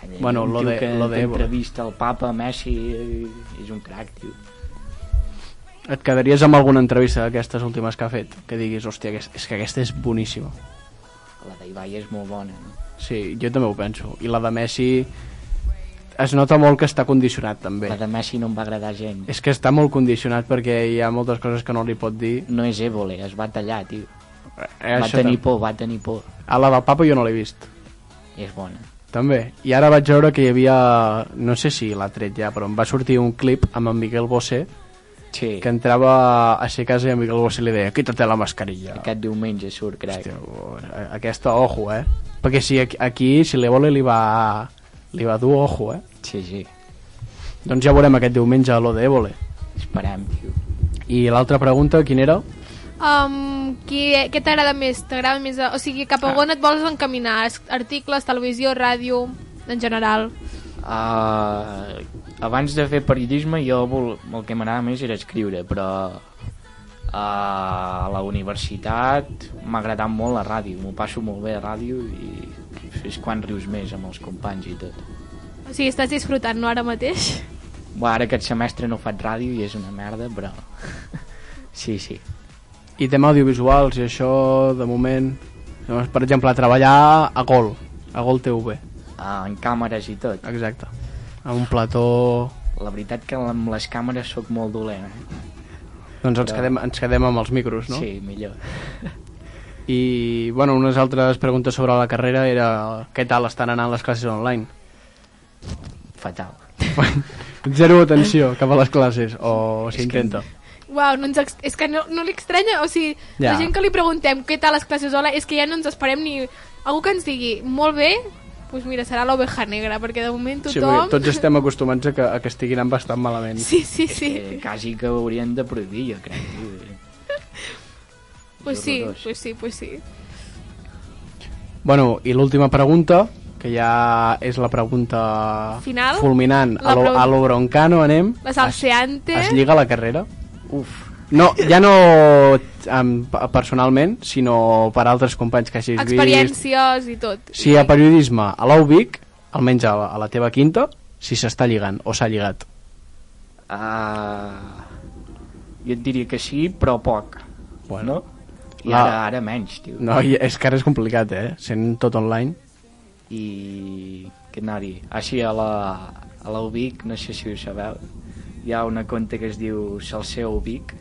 Speaker 6: Allà,
Speaker 4: Bueno,
Speaker 6: un
Speaker 4: lo
Speaker 6: tio
Speaker 4: de-
Speaker 6: que
Speaker 4: lo de Évole.
Speaker 6: entrevista el papa, Messi... eh, És un crac, tio.
Speaker 4: Et quedaries amb alguna entrevista d'aquestes últimes que ha fet? Que diguis, hòstia, aquest, és que aquesta és boníssima.
Speaker 6: La d'Ibai és molt bona, no?
Speaker 4: Sí, jo també ho penso. I la de Messi es nota molt que està condicionat, també.
Speaker 6: La de Messi no em va agradar gens.
Speaker 4: És que està molt condicionat perquè hi ha moltes coses que no li pot dir.
Speaker 6: No és Évole, es va tallar, tio.
Speaker 4: Eh,
Speaker 6: va
Speaker 4: això
Speaker 6: tenir
Speaker 4: tam-
Speaker 6: por, va tenir por.
Speaker 4: A la del Papa jo no l'he vist.
Speaker 6: És bona.
Speaker 4: També. I ara vaig veure que hi havia... No sé si l'ha tret ja, però em va sortir un clip amb en Miguel Bosé
Speaker 6: Sí.
Speaker 4: que entrava a ser casa i en Miguel Bosé li deia quítate la mascarilla.
Speaker 6: Aquest diumenge surt, crec.
Speaker 4: Hòstia, o- a- aquesta, ojo, eh? Perquè si aquí- aquí, si l'Evole li va... li va dur, ojo, eh?
Speaker 6: Sí, sí.
Speaker 4: Doncs ja veurem aquest diumenge lo d'Evole.
Speaker 6: Esperem, tio.
Speaker 4: I l'altra pregunta, quina era?
Speaker 5: Um, qui, què t'agrada més? T'agrada més... O sigui, cap
Speaker 4: Ah.
Speaker 5: a on et vols encaminar? Es- Articles, televisió, ràdio, en general.
Speaker 6: Uh, abans de fer periodisme jo vol, el que m'agradava més era escriure, però uh, a la universitat m'ha agradat molt la ràdio, m'ho passo molt bé a ràdio i és quan rius més amb els companys i tot.
Speaker 5: O sigui, estàs disfrutant, no ara mateix?
Speaker 6: Bé, ara aquest semestre no faig ràdio i és una merda, però sí, sí.
Speaker 4: I tema audiovisuals i això, de moment... Doncs, Per exemple, a treballar a Gol, a Gol TV,
Speaker 6: Uh, en càmeres i tot.
Speaker 4: exacte. A un plató...
Speaker 6: La veritat que amb les càmeres sóc molt dolent, eh?
Speaker 4: Doncs ens quedem, ens quedem amb els micros, no?
Speaker 6: Sí, millor.
Speaker 4: I, bueno, unes altres preguntes sobre la carrera era què tal estan anant les classes online?
Speaker 6: Fatal.
Speaker 4: Zero atenció cap a les classes, o s'intenta.
Speaker 5: Uau, no ens ex... és que no, no li estranya, o sigui,
Speaker 4: Ja.
Speaker 5: la gent que li preguntem què tal les classes hola, és que ja no ens esperem ni... Algú que ens digui, molt bé, doncs mira, serà l'oveja negra, perquè de moment
Speaker 4: Sí, perquè
Speaker 5: tothom...
Speaker 4: tots estem acostumats a que, a que estiguin anant bastant malament.
Speaker 5: Sí, sí, sí.
Speaker 6: Eh, quasi que ho haurien de prohibir, jo crec. tio.
Speaker 5: Pues sí,
Speaker 6: horrorós.
Speaker 5: pues sí, pues sí.
Speaker 4: Bueno, i l'última pregunta, que ja és la pregunta
Speaker 5: Final?
Speaker 4: fulminant.
Speaker 5: La
Speaker 4: A lo, a
Speaker 5: pregunta-
Speaker 4: lo broncano anem.
Speaker 5: La salseante...
Speaker 4: Es lliga la carrera?
Speaker 6: Uf,
Speaker 4: No, ja no em, personalment, sinó per altres companys que hagis vist.
Speaker 5: experiències i tot.
Speaker 4: Si a periodisme, a l'UBIC, almenys a la, a la teva quinta, si s'està lligant o s'ha lligat.
Speaker 6: Uh, jo et diria que sí, però poc.
Speaker 4: Bueno.
Speaker 6: No? I
Speaker 4: La-
Speaker 6: ara, ara menys, tio.
Speaker 4: No, i és que ara és complicat, eh? Sent tot online.
Speaker 6: I què anava a dir? Ah, sí, a la, a la Ubic, no sé si ho sabeu, hi ha una conta que es diu Salseu Ubic.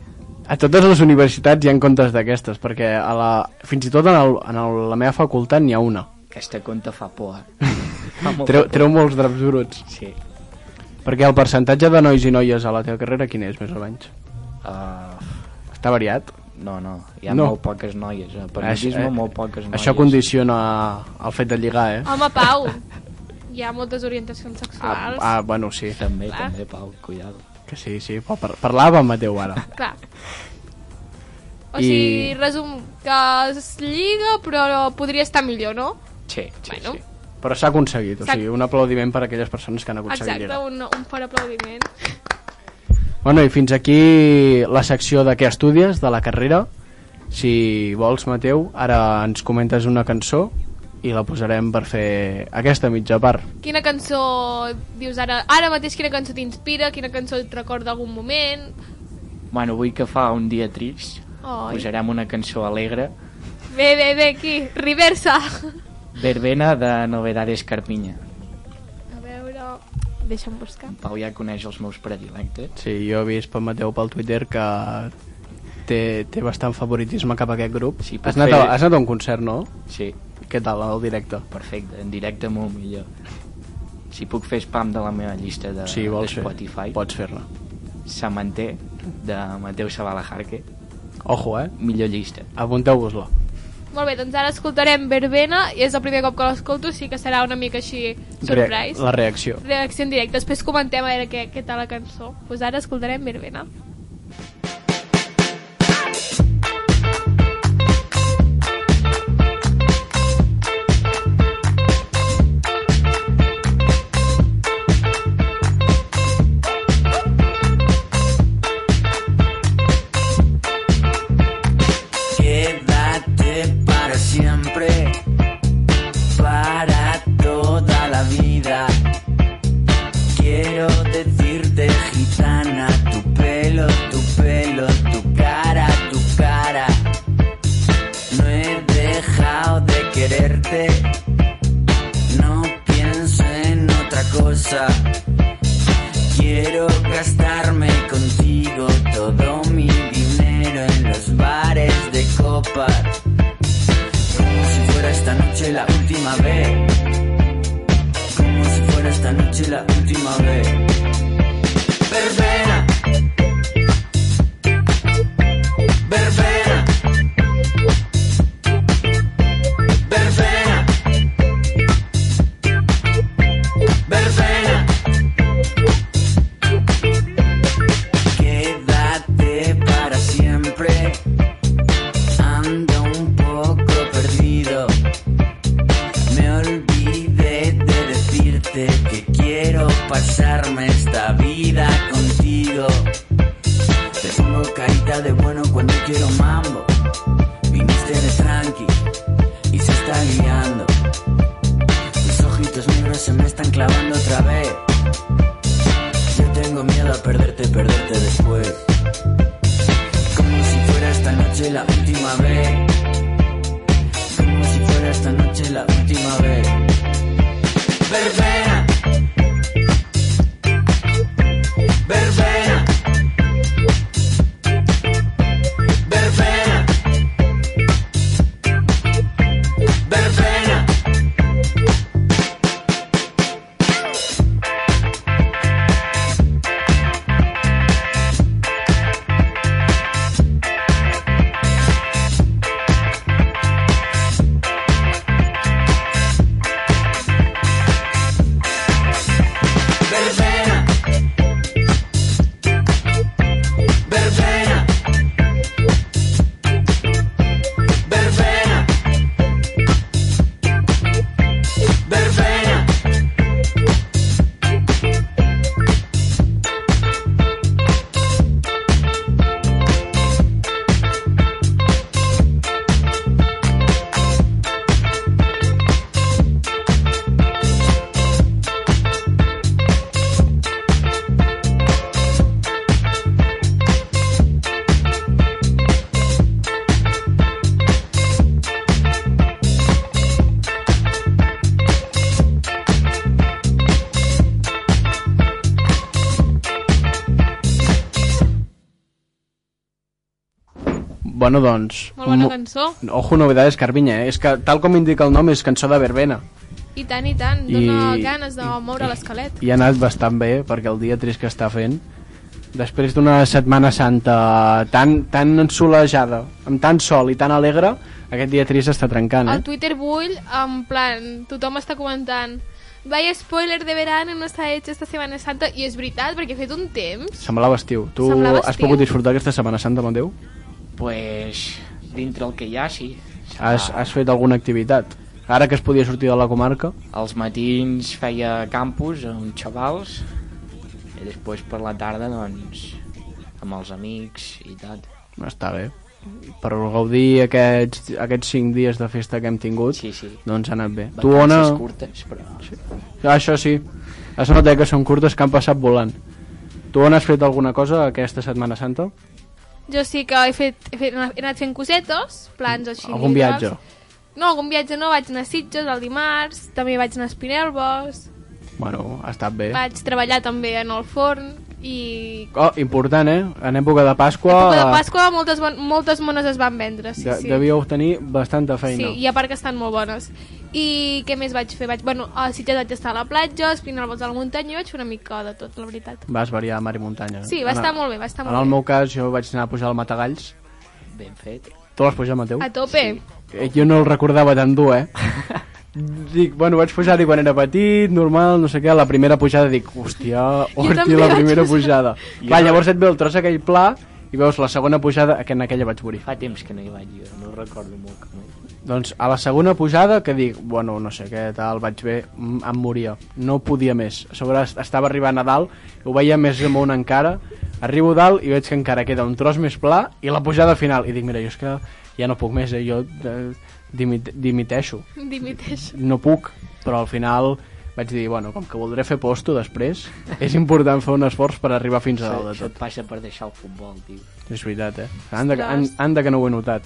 Speaker 4: A totes les universitats hi ha comptes d'aquestes, perquè a la, fins i tot en, el, en el, la meva facultat n'hi ha una.
Speaker 6: Aquesta conta fa por, eh? fa molta
Speaker 4: Treu,
Speaker 6: por.
Speaker 4: treu molts draps bruts.
Speaker 6: Sí.
Speaker 4: Perquè el percentatge de nois i noies a la teva carrera quin és, més o menys?
Speaker 6: Uh,
Speaker 4: Està variat?
Speaker 6: no, no, hi ha
Speaker 4: No.
Speaker 6: no. molt poques noies. A periodisme,
Speaker 4: eh,
Speaker 6: molt poques noies.
Speaker 4: Això condiciona el fet de lligar, eh?
Speaker 5: Home, Pau, hi ha moltes orientacions sexuals.
Speaker 4: Ah, bueno, sí,
Speaker 6: També,
Speaker 5: Clar.
Speaker 6: també, Pau, cuidado.
Speaker 4: que sí, sí. Però par parlava amb Mateu ara.
Speaker 5: Clar. O
Speaker 4: ah. I-
Speaker 5: sigui, resum, que es lliga, però podria estar millor, no?
Speaker 6: Sí, sí,
Speaker 5: Bueno.
Speaker 6: sí.
Speaker 4: Però s'ha aconseguit, o
Speaker 5: S'ha-
Speaker 4: sigui, un aplaudiment per a aquelles persones que han aconseguit
Speaker 5: Exacte,
Speaker 4: lligar.
Speaker 5: un, un fort aplaudiment.
Speaker 4: Bueno, i fins aquí la secció de què estudies, de la carrera. Si vols, Mateu, ara ens comentes una cançó i la posarem per fer aquesta mitja part.
Speaker 5: Quina cançó dius ara? Ara mateix quina cançó t'inspira? Quina cançó et recorda algun moment?
Speaker 6: Bueno, avui que fa un dia trist,
Speaker 5: Oi.
Speaker 6: posarem una cançó alegre,
Speaker 5: Bé, bé, bé, aquí, reversa.
Speaker 6: Verbena de Novedades Carpinya.
Speaker 5: A veure... Deixa'm buscar.
Speaker 6: Pau ja coneix els meus predilectes.
Speaker 4: Sí, jo he vist per Mateu pel Twitter que té, té bastant favoritisme cap a aquest grup.
Speaker 6: Sí, puc
Speaker 4: has, anat a,
Speaker 6: fer-
Speaker 4: has anat a un concert, no?
Speaker 6: Sí,
Speaker 4: Què tal, el directe?
Speaker 6: perfecte, en directe molt millor. Si puc fer spam de la meva llista de,
Speaker 4: Sí,
Speaker 6: de
Speaker 4: vols fer.
Speaker 6: Eh, Spotify,
Speaker 4: Pots fer-ne.
Speaker 6: Samanter, de Mateu Sabala Jarque,
Speaker 4: Ojo, eh?
Speaker 6: millor llista.
Speaker 4: Apunteu-vos-la.
Speaker 5: Molt bé, doncs ara escoltarem Verbena i és el primer cop que l'escolto, així que serà una mica així surprise.
Speaker 4: la reacció.
Speaker 5: Reacció en directe. Després comentem a veure què, què tal la cançó. Doncs pues ara escoltarem Verbena.
Speaker 7: Quédate para siempre, para toda la vida. Quiero decirte, gitana, tu pelo, tu pelo, tu cara, tu cara. No he dejado de quererte, no pienso en otra cosa. Quiero gastarme contigo todo mi dinero en los bares de copas. Como si fuera esta noche la última vez. Como si fuera esta noche la última vez. Verbena. Verbena. Verbena. Verbena. Quédate para siempre. Ando un poco perdido. Me olvidé de decirte que quiero pasarme esta vida contigo. Te pongo carita de bueno cuando quiero mambo. Viniste de tranqui y se está guiando. Tus ojitos negros se me están clavando otra vez. Yo tengo miedo a perderte, perderte después. Como si fuera esta noche la última vez. Como si fuera esta noche la última vez. Verbena. Verbena. Verbena. Verbena. Verbena. Verbena. Verbena. Verbena.
Speaker 4: Bueno, doncs...
Speaker 5: Molt bona
Speaker 4: mo-
Speaker 5: cançó.
Speaker 4: Ojo, novedades, Carvinya, eh? És que, tal com indica el nom, és cançó de verbena.
Speaker 5: I tant, i tant.
Speaker 4: I-
Speaker 5: Dóna ganes de
Speaker 4: i-
Speaker 5: moure l'esquelet.
Speaker 4: i ha anat bastant bé perquè el dia 3 que està fent després d'una setmana santa tan, tan ensolejada amb tant sol i tan alegre aquest dia 3 està trencant eh?
Speaker 5: Al Twitter bull, en plan, tothom està comentant Vaya spoiler de verano, no s'ha hecho esta Semana Santa. I és veritat, perquè he fet un temps.
Speaker 4: semblava estiu tu
Speaker 5: Semblava
Speaker 4: has
Speaker 5: estiu.
Speaker 4: pogut disfrutar aquesta setmana santa amb Déu?
Speaker 6: Pues, dintre el que hi ha, sí.
Speaker 4: Has,
Speaker 5: Ah.
Speaker 4: has fet alguna activitat? ara que es podia sortir de la comarca
Speaker 6: Als matins feia campus amb xavals i després per la tarda, doncs, amb els amics i tot.
Speaker 4: està bé per gaudir aquests, aquests 5 dies de festa que hem tingut
Speaker 6: Sí, sí.
Speaker 4: doncs ha anat bé tu
Speaker 6: Vacances
Speaker 4: Ona,
Speaker 6: curtes, però...
Speaker 4: Ah, això sí. Es nota que són curtes que han passat volant. Tu on has fet alguna cosa aquesta Setmana Santa?
Speaker 5: Jo sí que he, fet, he, fet, he anat fent cosetes, plans així.
Speaker 4: Algun
Speaker 5: individuals.
Speaker 4: viatge?
Speaker 5: No, algun viatge no, vaig anar a Sitges el dimarts, també vaig anar a Espinelbos,
Speaker 4: Bueno, ha estat bé.
Speaker 5: vaig treballar també en el forn i...
Speaker 4: Oh, important, eh? En època de Pasqua...
Speaker 5: Època de Pasqua moltes, bon- moltes mones es van vendre, sí,
Speaker 4: de-
Speaker 5: sí.
Speaker 4: Devíeu tenir bastanta feina.
Speaker 5: Sí, i a part que estan molt bones. I què més vaig fer? Vaig, bueno, a Sitges vaig estar a la platja, a Espinalbos a la muntanya i vaig fer una mica de tot, la veritat.
Speaker 4: Vas variar a mar i muntanya. eh?
Speaker 5: Sí, va
Speaker 4: En-
Speaker 5: estar molt bé, va estar
Speaker 4: En
Speaker 5: molt
Speaker 4: el
Speaker 5: bé.
Speaker 4: meu cas, jo vaig anar a pujar al Matagalls.
Speaker 6: Ben fet.
Speaker 4: Tu vas pujar, Mateu?
Speaker 5: A tope.
Speaker 4: Eh, Jo no el recordava tan dur, eh? dic, bueno, vaig pujar-hi quan era petit, normal, no sé què, a la primera pujada dic, hòstia,
Speaker 5: també
Speaker 4: hòstia, la
Speaker 5: vaig
Speaker 4: primera
Speaker 5: pujar.
Speaker 4: pujada. Va, llavors et ve el tros aquell pla i veus la segona pujada, que en aquella vaig morir.
Speaker 6: Fa temps que no hi vaig jo, no recordo molt com era.
Speaker 4: Doncs a la segona pujada que dic, bueno, no sé què, tal, vaig bé, mm, em moria, no podia més. A sobre est- estava arribant a dalt, ho veia més amunt encara, arribo a dalt i veig que encara queda un tros més pla i la pujada final. I dic, mira, jo és que ja no puc més, eh? jo eh, dimit dimiteixo
Speaker 5: Dimiteix.
Speaker 4: no puc, però al final vaig dir, bueno, com que voldré fer posto després, és important fer un esforç per arribar fins a dalt de
Speaker 6: Això
Speaker 4: tot.
Speaker 6: et passa per deixar el futbol, tio.
Speaker 4: És veritat, eh? Anda, que- an- anda que no ho he notat.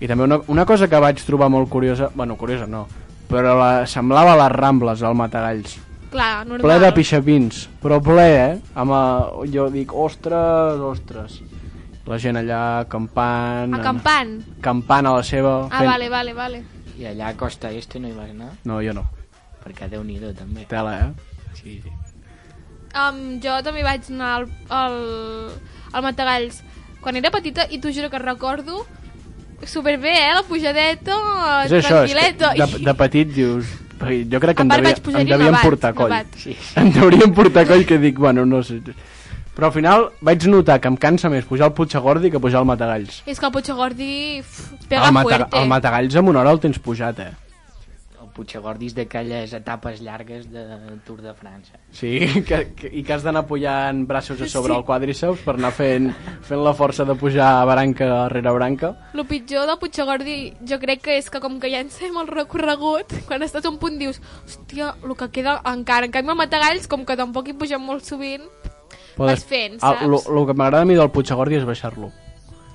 Speaker 4: I també una, una cosa que vaig trobar molt curiosa, bueno, curiosa no, però la, semblava a les Rambles, al Matagalls.
Speaker 5: Clar, normal.
Speaker 4: Ple de pixapins, però ple, eh? Amb, eh, jo dic, ostres, ostres. La gent allà acampant...
Speaker 5: Acampant.
Speaker 4: Acampant a la seva...
Speaker 5: Ah, vale, vale, vale.
Speaker 6: I allà a Costa Este no hi vas anar?
Speaker 4: No, jo no.
Speaker 6: Perquè Déu-n'hi-do, també.
Speaker 4: Tela, eh?
Speaker 6: Sí, sí.
Speaker 5: Um, jo també vaig anar al, al, al Matagalls quan era petita i t'ho juro que recordo superbé, eh? La pujadeta,
Speaker 4: És això, és
Speaker 5: tranquil·leta.
Speaker 4: que de, de petit dius... Jo crec que em,
Speaker 5: A part
Speaker 4: devia,
Speaker 5: vaig pujar
Speaker 4: em
Speaker 5: allà
Speaker 4: devien
Speaker 5: nevat,
Speaker 4: portar coll.
Speaker 5: nevat.
Speaker 6: Sí,
Speaker 4: Em deurien portar coll que dic, bueno, no sé... Però al final vaig notar que em cansa més pujar al Puigagordi que pujar al Matagalls.
Speaker 5: És que el Puigagordi ff, pega
Speaker 4: el,
Speaker 5: fuerte.
Speaker 4: el Matagalls en una hora el tens pujat, eh?
Speaker 6: El Puigagordi és d'aquelles etapes llargues de Tour de França.
Speaker 4: Sí, que, que, i que has d'anar pujant braços a sobre sí. el quadriceps per anar fent, fent la força de pujar branca rere branca.
Speaker 5: El pitjor del Puigagordi jo crec que és que com que ja ensem el recorregut, quan estàs a un punt dius, hòstia, el que queda encara. En canvi el Matagalls, com que tampoc hi pugem molt sovint, Vas fent, saps?
Speaker 4: El, el, que m'agrada a mi del Puigagordi és baixar-lo.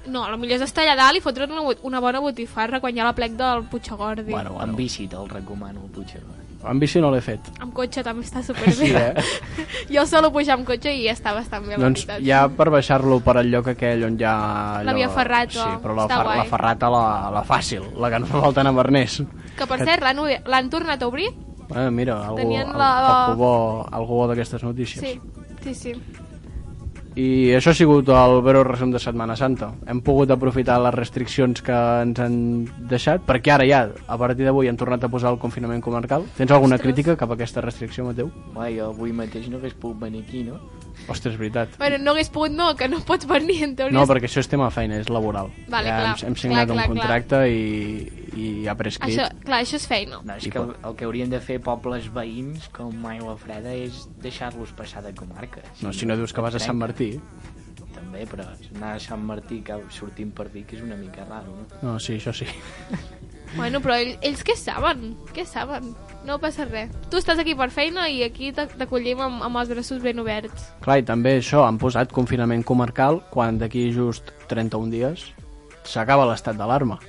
Speaker 5: no, el millor és estar allà dalt i fotre una, bo- una bona botifarra quan hi ha la plec del Puigagordi.
Speaker 4: Bueno,
Speaker 6: En
Speaker 4: bueno.
Speaker 6: bici te'l recomano, el Puigagordi.
Speaker 4: Amb bici no l'he fet.
Speaker 5: Amb cotxe també està superbé.
Speaker 4: Sí, eh?
Speaker 5: jo solo pujar amb cotxe i està bastant bé,
Speaker 4: Doncs
Speaker 5: la veritat.
Speaker 4: ja per baixar-lo per al lloc aquell on hi ha... Allò...
Speaker 5: La Via Ferrata,
Speaker 4: Sí, però la,
Speaker 5: està guai.
Speaker 4: la Ferrata, la, la fàcil, la que no fa falta anar a Bernès.
Speaker 5: Que per cert, l'han obri- l'han tornat a obrir?
Speaker 4: Ah, mira, algú,
Speaker 5: Tenien
Speaker 4: al-
Speaker 5: la-
Speaker 4: algú bo, algú bo d'aquestes notícies.
Speaker 5: Sí, sí, sí.
Speaker 4: I això ha sigut el breu resum de Setmana Santa. Hem pogut aprofitar les restriccions que ens han deixat, perquè ara ja, a partir d'avui, han tornat a posar el confinament comarcal. Tens alguna
Speaker 5: Ostres.
Speaker 4: crítica cap a aquesta restricció, Mateu?
Speaker 6: Bé, jo avui mateix no hagués pogut venir aquí, no?
Speaker 4: Ostres, veritat.
Speaker 5: Bueno, no hagués pogut, no, que no pots venir, en teoria.
Speaker 4: No, perquè això és tema de feina, és laboral.
Speaker 5: Vale,
Speaker 4: ja
Speaker 5: clar,
Speaker 4: hem, hem signat
Speaker 5: clar, clar,
Speaker 4: un contracte i, i ha prescrit.
Speaker 5: Això, clar, això és feina.
Speaker 6: No, és
Speaker 4: I
Speaker 6: que el,
Speaker 4: pot.
Speaker 6: el que haurien de fer pobles veïns com Aigua Freda és deixar-los passar de comarca.
Speaker 4: No, si no dius que vas a Sant Martí.
Speaker 6: També, però anar a Sant Martí que sortim per Vic és una mica raro, no?
Speaker 4: No, sí, això sí.
Speaker 5: Bueno, però ell, ells què saben? Què saben? No passa res. Tu estàs aquí per feina i aquí t'ac- t'acollim amb, amb els braços ben oberts.
Speaker 4: Clar, i també això, han posat confinament comarcal quan d'aquí just 31 dies s'acaba l'estat d'alarma.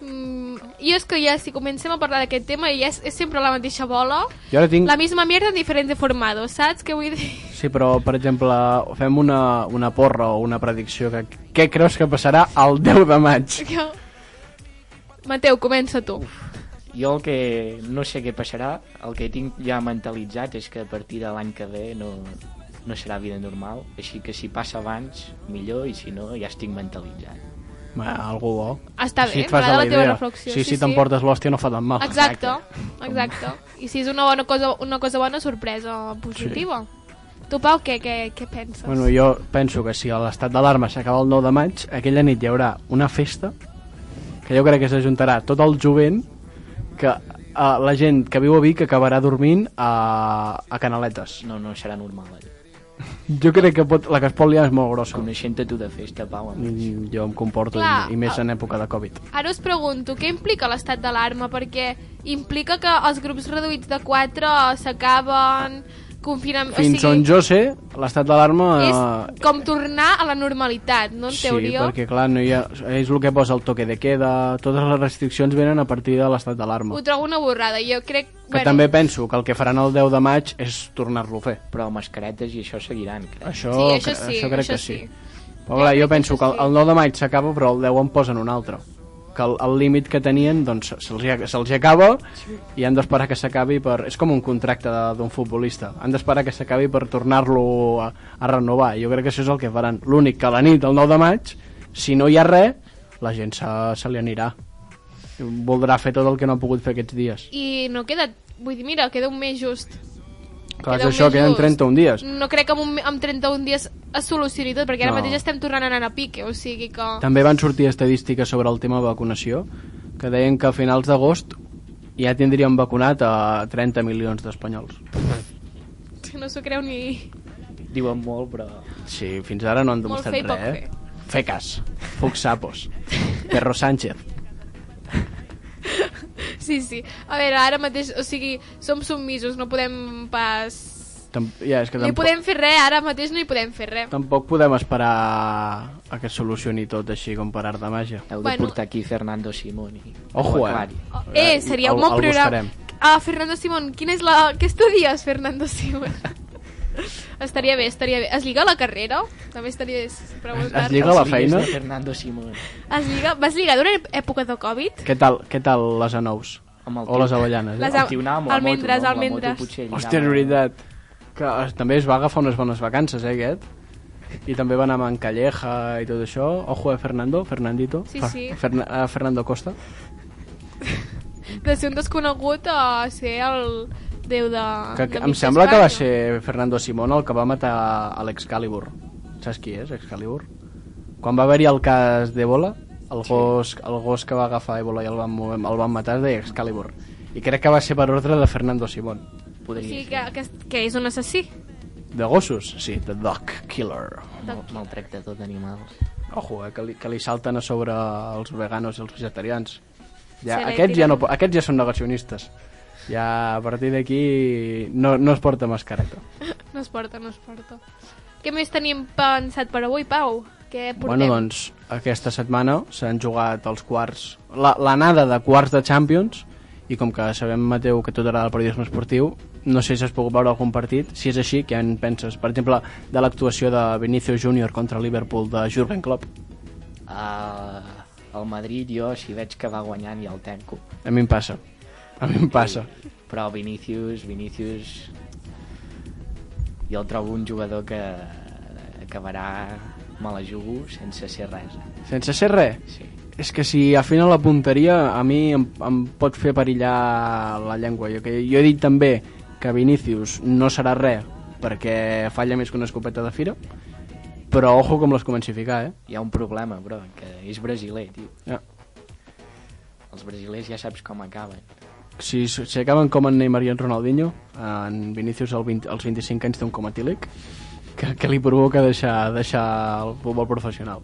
Speaker 5: Mm, jo és que ja, si comencem a parlar d'aquest tema, ja és, és sempre la mateixa bola.
Speaker 4: Jo ara tinc...
Speaker 5: La misma mierda en diferents formados, saps què vull dir?
Speaker 4: Sí, però, per exemple, fem una, una porra o una predicció. Que, què creus que passarà el 10 de maig?
Speaker 5: Jo... Mateu, comença tu.
Speaker 6: Jo el que no sé què passarà, el que tinc ja mentalitzat és que a partir de l'any que ve no, no serà vida normal, així que si passa abans, millor, i si no, ja estic mentalitzat.
Speaker 4: Va, algú bo.
Speaker 5: Està
Speaker 4: Així
Speaker 5: bé,
Speaker 4: et fas a
Speaker 5: m'agrada la teva
Speaker 4: idea.
Speaker 5: reflexió,
Speaker 4: Sí,
Speaker 5: sí,
Speaker 4: sí,
Speaker 5: sí.
Speaker 4: t'emportes l'hòstia, no fa tan mal.
Speaker 5: Exacte, exacte. I si és una bona cosa, una cosa bona, sorpresa positiva. Tu, Pau, què, què, què penses?
Speaker 4: Bueno, jo penso que si l'estat d'alarma s'acaba el 9 de maig, aquella nit hi haurà una festa que jo crec que s'ajuntarà tot el jovent que eh, la gent que viu a Vic acabarà dormint a, a Canaletes.
Speaker 6: No, no serà normal. allò.
Speaker 4: Jo crec que pot, la que es pot liar és molt grossa.
Speaker 6: Coneixent-te tu de festa, Pau, a més.
Speaker 4: Mm, Jo em comporto,
Speaker 5: Clar, ah.
Speaker 4: i, i més
Speaker 5: el-
Speaker 4: en època de Covid.
Speaker 5: Ara us pregunto, què implica l'estat d'alarma? Perquè implica que els grups reduïts de 4 s'acaben, confinament...
Speaker 4: Fins
Speaker 5: o
Speaker 4: on
Speaker 5: sigui,
Speaker 4: jo sé, l'estat d'alarma... eh,
Speaker 5: És com tornar a la normalitat, no? En
Speaker 4: Sí,
Speaker 5: teoria.
Speaker 4: perquè clar, no hi ha, és el que posa el toque de queda, totes les restriccions venen a partir de l'estat d'alarma.
Speaker 5: Ho trobo una borrada. Jo crec...
Speaker 4: Que també penso que el que faran el 10 de maig és tornar-lo a fer.
Speaker 6: Però mascaretes i això seguiran, crec.
Speaker 4: Això,
Speaker 5: Sí, això
Speaker 4: cre-
Speaker 5: sí,
Speaker 4: això crec
Speaker 5: això
Speaker 4: que
Speaker 5: sí.
Speaker 4: sí. Però clar,
Speaker 5: crec
Speaker 4: jo
Speaker 5: que
Speaker 4: penso
Speaker 5: això
Speaker 4: que el,
Speaker 5: sí.
Speaker 4: el 9 de maig s'acaba però el 10 en posen un altre. Que el- el límit que tenien doncs se'ls hi ac- se'ls hi acaba i han d'esperar que s'acabi per... És com un contracte de- d'un futbolista. Han d'esperar que s'acabi per tornar-lo a, a renovar. Jo crec que això és el que faran. L'únic que a la nit del 9 de maig, si no hi ha res, la gent se, se li anirà. Voldrà fer tot el que no ha pogut fer aquests dies.
Speaker 5: I no queda... Vull dir, mira, queda un mes just.
Speaker 4: Clar, és
Speaker 5: un
Speaker 4: això,
Speaker 5: mes
Speaker 4: queden
Speaker 5: just.
Speaker 4: 31 dies.
Speaker 5: No crec que en, un, en 31 dies es solucioni tot, perquè ara
Speaker 4: No.
Speaker 5: mateix estem tornant a anar a pique, o sigui que...
Speaker 4: També van sortir estadístiques sobre el tema vacunació, que deien que a finals d'agost ja tindríem vacunat a 30 milions d'espanyols.
Speaker 5: No s'ho creu ni...
Speaker 6: Diuen molt, però...
Speaker 4: Sí, fins ara no han
Speaker 5: Molt
Speaker 4: demostrat
Speaker 5: fer i poc
Speaker 4: res, eh? Fecas, fuxapos, perro Sánchez.
Speaker 5: Sí, sí. A veure, ara mateix, o sigui, som submisos, no podem pas...
Speaker 4: Tamp ja, és que
Speaker 5: No hi
Speaker 4: tampoc,
Speaker 5: podem fer res, ara mateix no hi podem fer res.
Speaker 4: tampoc podem esperar a que es solucioni tot així com per art de màgia.
Speaker 6: Heu de
Speaker 5: Bueno.
Speaker 6: portar aquí Fernando Simón i...
Speaker 4: Ojo, eh?
Speaker 6: Aquari.
Speaker 5: Oh, eh, seria
Speaker 4: El-
Speaker 5: un bon
Speaker 4: el
Speaker 5: programa.
Speaker 4: buscarem.
Speaker 5: Ah, Fernando Simón, quina és la... Què estudies, Fernando Simón? estaria bé, estaria bé. Es lliga la carrera? També estaria bé preguntar-te.
Speaker 4: es lliga la
Speaker 6: Els lligues
Speaker 4: feina?
Speaker 6: de Fernando Simón.
Speaker 5: Es lliga... Vas lligar durant època de Covid?
Speaker 4: Què tal, què tal les anous?
Speaker 6: Amb el
Speaker 4: O les
Speaker 6: tio-
Speaker 4: avellanes?
Speaker 5: Les
Speaker 4: Les a...
Speaker 5: a-
Speaker 6: El tio anava amb la moto,
Speaker 5: almendres,
Speaker 6: no? Amb la
Speaker 5: almendres.
Speaker 6: moto potser lligava-
Speaker 4: Hòstia, és veritat. Que eh, també es va agafar unes bones vacances, eh, aquest? I també va anar a Mancalleja i tot això. Ojo, eh, Fernando, Fernandito.
Speaker 5: Sí,
Speaker 4: Fer-
Speaker 5: sí.
Speaker 4: Ferna- eh, Fernando Costa.
Speaker 5: De ser un desconegut a ser el déu de...
Speaker 4: Que,
Speaker 5: Ah. de
Speaker 4: que em
Speaker 5: mitja
Speaker 4: sembla que va
Speaker 5: Espanya.
Speaker 4: ser Fernando Simón el que va matar a l'Excalibur. Saps qui és, Excalibur? Quan va haver-hi el cas d'Ebola, el, gos, el gos que va agafar Ebola i el van, mover- el van matar es deia Excalibur. I crec que va ser per ordre de Fernando Simón.
Speaker 5: O
Speaker 6: Podria
Speaker 5: sigui
Speaker 6: ser.
Speaker 5: que, que, que és un assassí.
Speaker 4: De gossos? Sí, The Dog Killer.
Speaker 6: Mal, maltractador d'animals.
Speaker 4: Ojo, eh, que, li, que li salten a sobre els veganos i els vegetarians. Ja,
Speaker 5: Se li
Speaker 4: aquests, ja
Speaker 5: tiren.
Speaker 4: no, po- aquests ja són negacionistes. Ja a partir d'aquí no, no es porta mascareta.
Speaker 5: No es porta, no es porta. Què més tenim pensat per avui, Pau? Què portem?
Speaker 4: Bueno, doncs, aquesta setmana s'han jugat els quarts, la- l'anada de quarts de Champions, i com que sabem, Mateu, que tu t'agrada el periodisme esportiu, no sé si has pogut veure algun partit, si és així, què en penses? Per exemple, de l'actuació de Vinicius Júnior contra el Liverpool de Jurgen Klopp.
Speaker 6: Uh, el Madrid jo, si veig que va guanyant, ja el tanco.
Speaker 4: A mi em passa. A mi em passa.
Speaker 6: Però Vinícius, Vinícius... Jo el trobo un jugador que acabarà me la jugo sense ser res. eh?
Speaker 4: Sense ser res,
Speaker 6: Sí.
Speaker 4: És que si afina la punteria a mi em, em pot fer perillar la llengua. Jo, que, jo he dit també que Vinicius no serà res perquè falla més que una escopeta de fira, però ojo com les comenci a ficar, eh?
Speaker 6: Hi ha un problema, però, que és brasiler, tio.
Speaker 4: Ja.
Speaker 6: Els brasilers ja saps com acaben.
Speaker 4: Si s- si acaben com en Neymar i en Ronaldinho, en Vinicius al 20, als 25 anys té un coma etílic que, que li provoca deixar, deixar el futbol professional.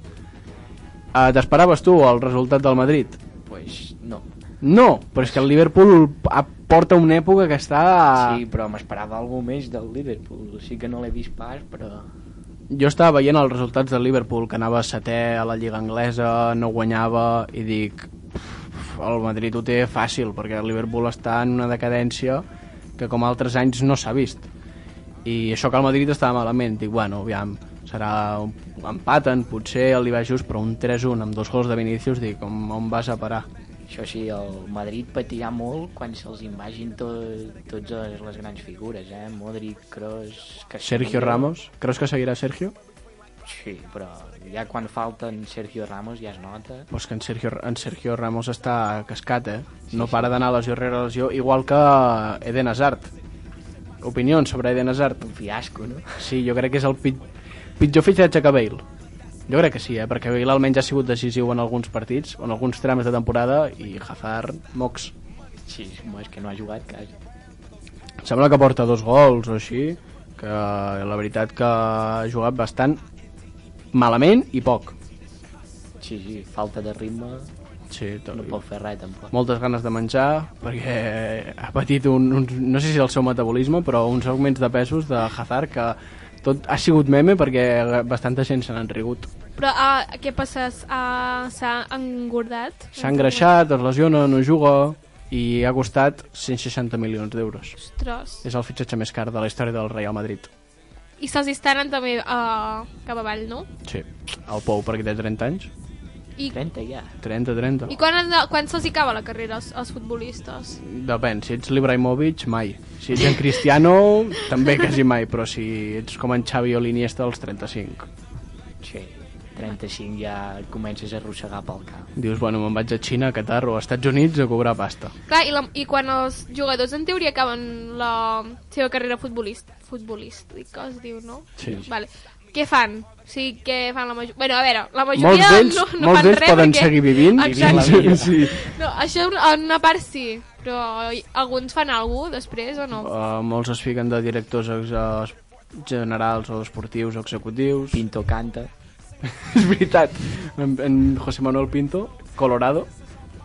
Speaker 4: Uh, T'esperaves tu el resultat del Madrid?
Speaker 6: Pues no.
Speaker 4: No, però és que el Liverpool a- porta una època que està...
Speaker 6: Sí, però m'esperava algú més del Liverpool. Sí que no l'he vist pas, però...
Speaker 4: Jo estava veient els resultats del Liverpool, que anava setè a la Lliga Anglesa, no guanyava, i dic... "Uf, El Madrid ho té fàcil, perquè el Liverpool està en una decadència que com altres anys no s'ha vist. I això que el Madrid estava malament, dic, bueno, aviam, serà un empaten, potser el li va just, però un 3-1 amb dos gols de Vinicius, dic, on, on vas a parar?
Speaker 6: Això sí, el Madrid patirà molt quan se'ls invagin to totes les grans figures, eh? Modric, Kroos... Casemiro.
Speaker 4: Sergio Ramos. Creus que seguirà Sergio?
Speaker 6: Sí, però ja quan falten Sergio Ramos ja es nota.
Speaker 4: Pues que en Sergio, en Sergio Ramos està cascat, eh? No para d'anar a lesió rere lesió, igual que Eden Hazard. Opinions sobre Eden Hazard?
Speaker 6: Un fiasco, no?
Speaker 4: Sí, jo crec que és el pit... pitjor fitxatge que Bale. Jo crec que sí, eh? perquè Bale almenys ha sigut decisiu en alguns partits, en alguns trams de temporada, i Hazard, Mox.
Speaker 6: Sí, no, és que no ha jugat quasi.
Speaker 4: Sembla que porta dos gols o així, que la veritat que ha jugat bastant malament i poc.
Speaker 6: Sí, sí, falta de ritme,
Speaker 4: Sí,
Speaker 6: no pot fer res tampoc.
Speaker 4: moltes ganes de menjar perquè ha patit un, un no sé si és el seu metabolisme però uns augments de pesos de Hazard que tot ha sigut meme perquè bastanta gent se n'han rigut
Speaker 5: Però uh, què passa? Uh, S'ha engordat?
Speaker 4: s'ha engreixat, es lesiona, no juga i ha costat 160 milions d'euros
Speaker 5: Ostres.
Speaker 4: és el fitxatge més car de la història del Real Madrid
Speaker 5: I se'ls està anant també uh, cap avall, no?
Speaker 4: sí, el Pou perquè té 30 anys
Speaker 5: I,
Speaker 6: 30 ja.
Speaker 4: 30, 30
Speaker 5: i quan, han de- quan se'ls acaba la carrera als, als futbolistes?
Speaker 4: Depèn, si ets l'Ibrahimovic, mai. Si ets en Cristiano, també quasi mai, però si ets com en Xavi o l'Iniesta, als 35.
Speaker 6: Sí, 35 ja et comences a arrossegar pel cap.
Speaker 4: Dius, bueno, me'n vaig a Xina, a Qatar o a Estats Units a cobrar pasta.
Speaker 5: Clar, i, la, i quan els jugadors en teoria acaben la seva carrera futbolist, futbolística, es diu, no?
Speaker 4: Sí.
Speaker 5: Vale. Què fan? O sigui, què fan la majoria? Bueno, a veure, la majoria
Speaker 4: Molts d'ells
Speaker 5: no, no
Speaker 4: molts
Speaker 5: fan
Speaker 4: d'ells
Speaker 5: res
Speaker 4: poden
Speaker 5: perquè...
Speaker 4: seguir vivint.
Speaker 5: Exacte.
Speaker 6: vivint la vida.
Speaker 4: Sí.
Speaker 5: No, això en una part sí, però alguns fan alguna cosa després o no?
Speaker 4: Uh, molts es fiquen de directors ex eh, generals o esportius o executius.
Speaker 6: Pinto canta.
Speaker 4: És veritat. En, en José Manuel Pinto, Colorado,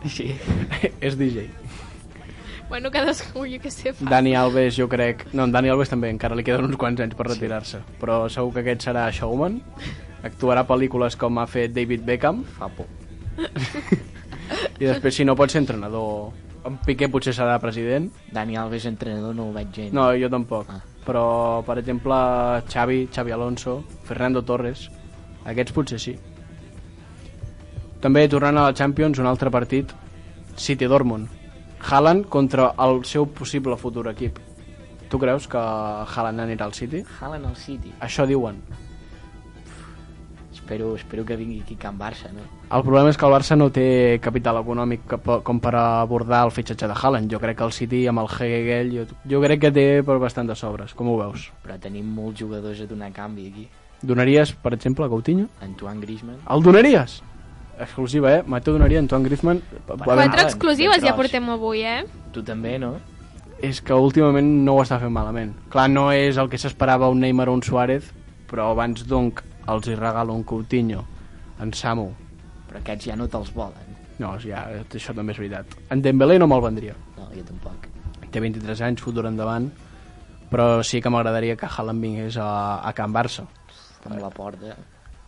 Speaker 6: Sí.
Speaker 4: és DJ.
Speaker 5: Bueno, cadascú, jo què sé, fa.
Speaker 4: Dani Alves, jo crec... No, en Dani Alves també, encara li queden uns quants anys per retirar-se. Però segur que aquest serà showman. Actuarà a pel·lícules com ha fet David Beckham.
Speaker 6: Fa por.
Speaker 4: I després, si no pot ser entrenador... En Piqué potser serà president.
Speaker 6: Dani Alves, entrenador, no ho veig gens.
Speaker 4: No, jo tampoc.
Speaker 6: Ah.
Speaker 4: Però, per exemple, Xavi, Xavi Alonso, Fernando Torres, aquests potser sí. També, tornant a la Champions, un altre partit, City-Dortmund. Haaland contra el seu possible futur equip. Tu creus que Haaland anirà al City?
Speaker 6: Haaland al City.
Speaker 4: Això diuen.
Speaker 6: Espero, espero que vingui aquí a Can Barça, no?
Speaker 4: El problema és que el Barça no té capital econòmic que po- com per abordar el fitxatge de Haaland. Jo crec que el City amb el Hegel jo, jo crec que té per bastant de sobres. Com ho veus?
Speaker 6: Però tenim molts jugadors a donar canvi aquí.
Speaker 4: Donaries, per exemple, a Coutinho?
Speaker 6: Antoine Griezmann.
Speaker 4: El donaries? Exclusiva, eh? Mateu donaria a Antoine Griezmann. A veure,
Speaker 5: Quatre
Speaker 6: Haaland,
Speaker 5: exclusives ja
Speaker 6: Petros.
Speaker 5: portem avui, eh?
Speaker 6: Tu també, no?
Speaker 4: és que últimament no ho està fent malament. Clar, no és el que s'esperava un Neymar o un Suárez, però abans donc els hi regalo un Coutinho, en Samu.
Speaker 6: Però aquests ja no te'ls volen.
Speaker 4: No, ja, això també és veritat. En Dembélé no me'l vendria.
Speaker 6: No, jo tampoc.
Speaker 4: Té 23 anys, futur endavant, però sí que m'agradaria que Haaland vingués a, a Can Barça.
Speaker 6: Amb la porta.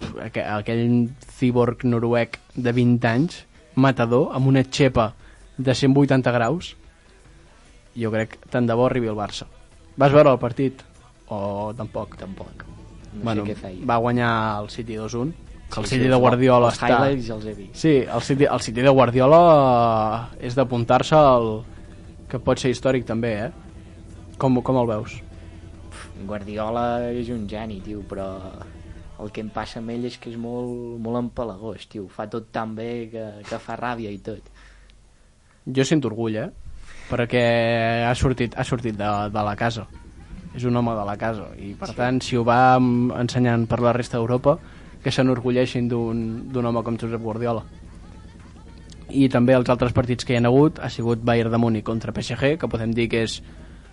Speaker 4: Pff, aqu- Aquell cíborg noruec de 20 anys, matador, amb una xepa de 180 graus, jo crec que tant de bo arribi al Barça. Vas veure el partit? O tampoc?
Speaker 6: Tampoc. No
Speaker 4: bueno,
Speaker 6: sé què feia.
Speaker 4: va guanyar el City 2-1, que el
Speaker 6: Sí,
Speaker 4: City
Speaker 6: sí,
Speaker 4: de
Speaker 6: els-
Speaker 4: Guardiola
Speaker 6: els
Speaker 4: està...
Speaker 6: highlights els he vist.
Speaker 4: Sí, el City, el City de Guardiola eh, és d'apuntar-se al... que pot ser històric també, eh? Com, com el veus?
Speaker 6: Guardiola és un geni, tio, però el que em passa amb ell és que és molt, molt empalagós, tio. Fa tot tan bé que, que fa ràbia i tot.
Speaker 4: Jo sento orgull, eh? Perquè ha sortit, ha sortit de, de la casa. És un home de la casa. I, per sí. tant, si ho va mm, ensenyant per la resta d'Europa, que s'enorgulleixin d'un d'un home com Josep Guardiola. I també els altres partits que hi ha hagut ha sigut Bayern de Múnich contra PSG, que podem dir que és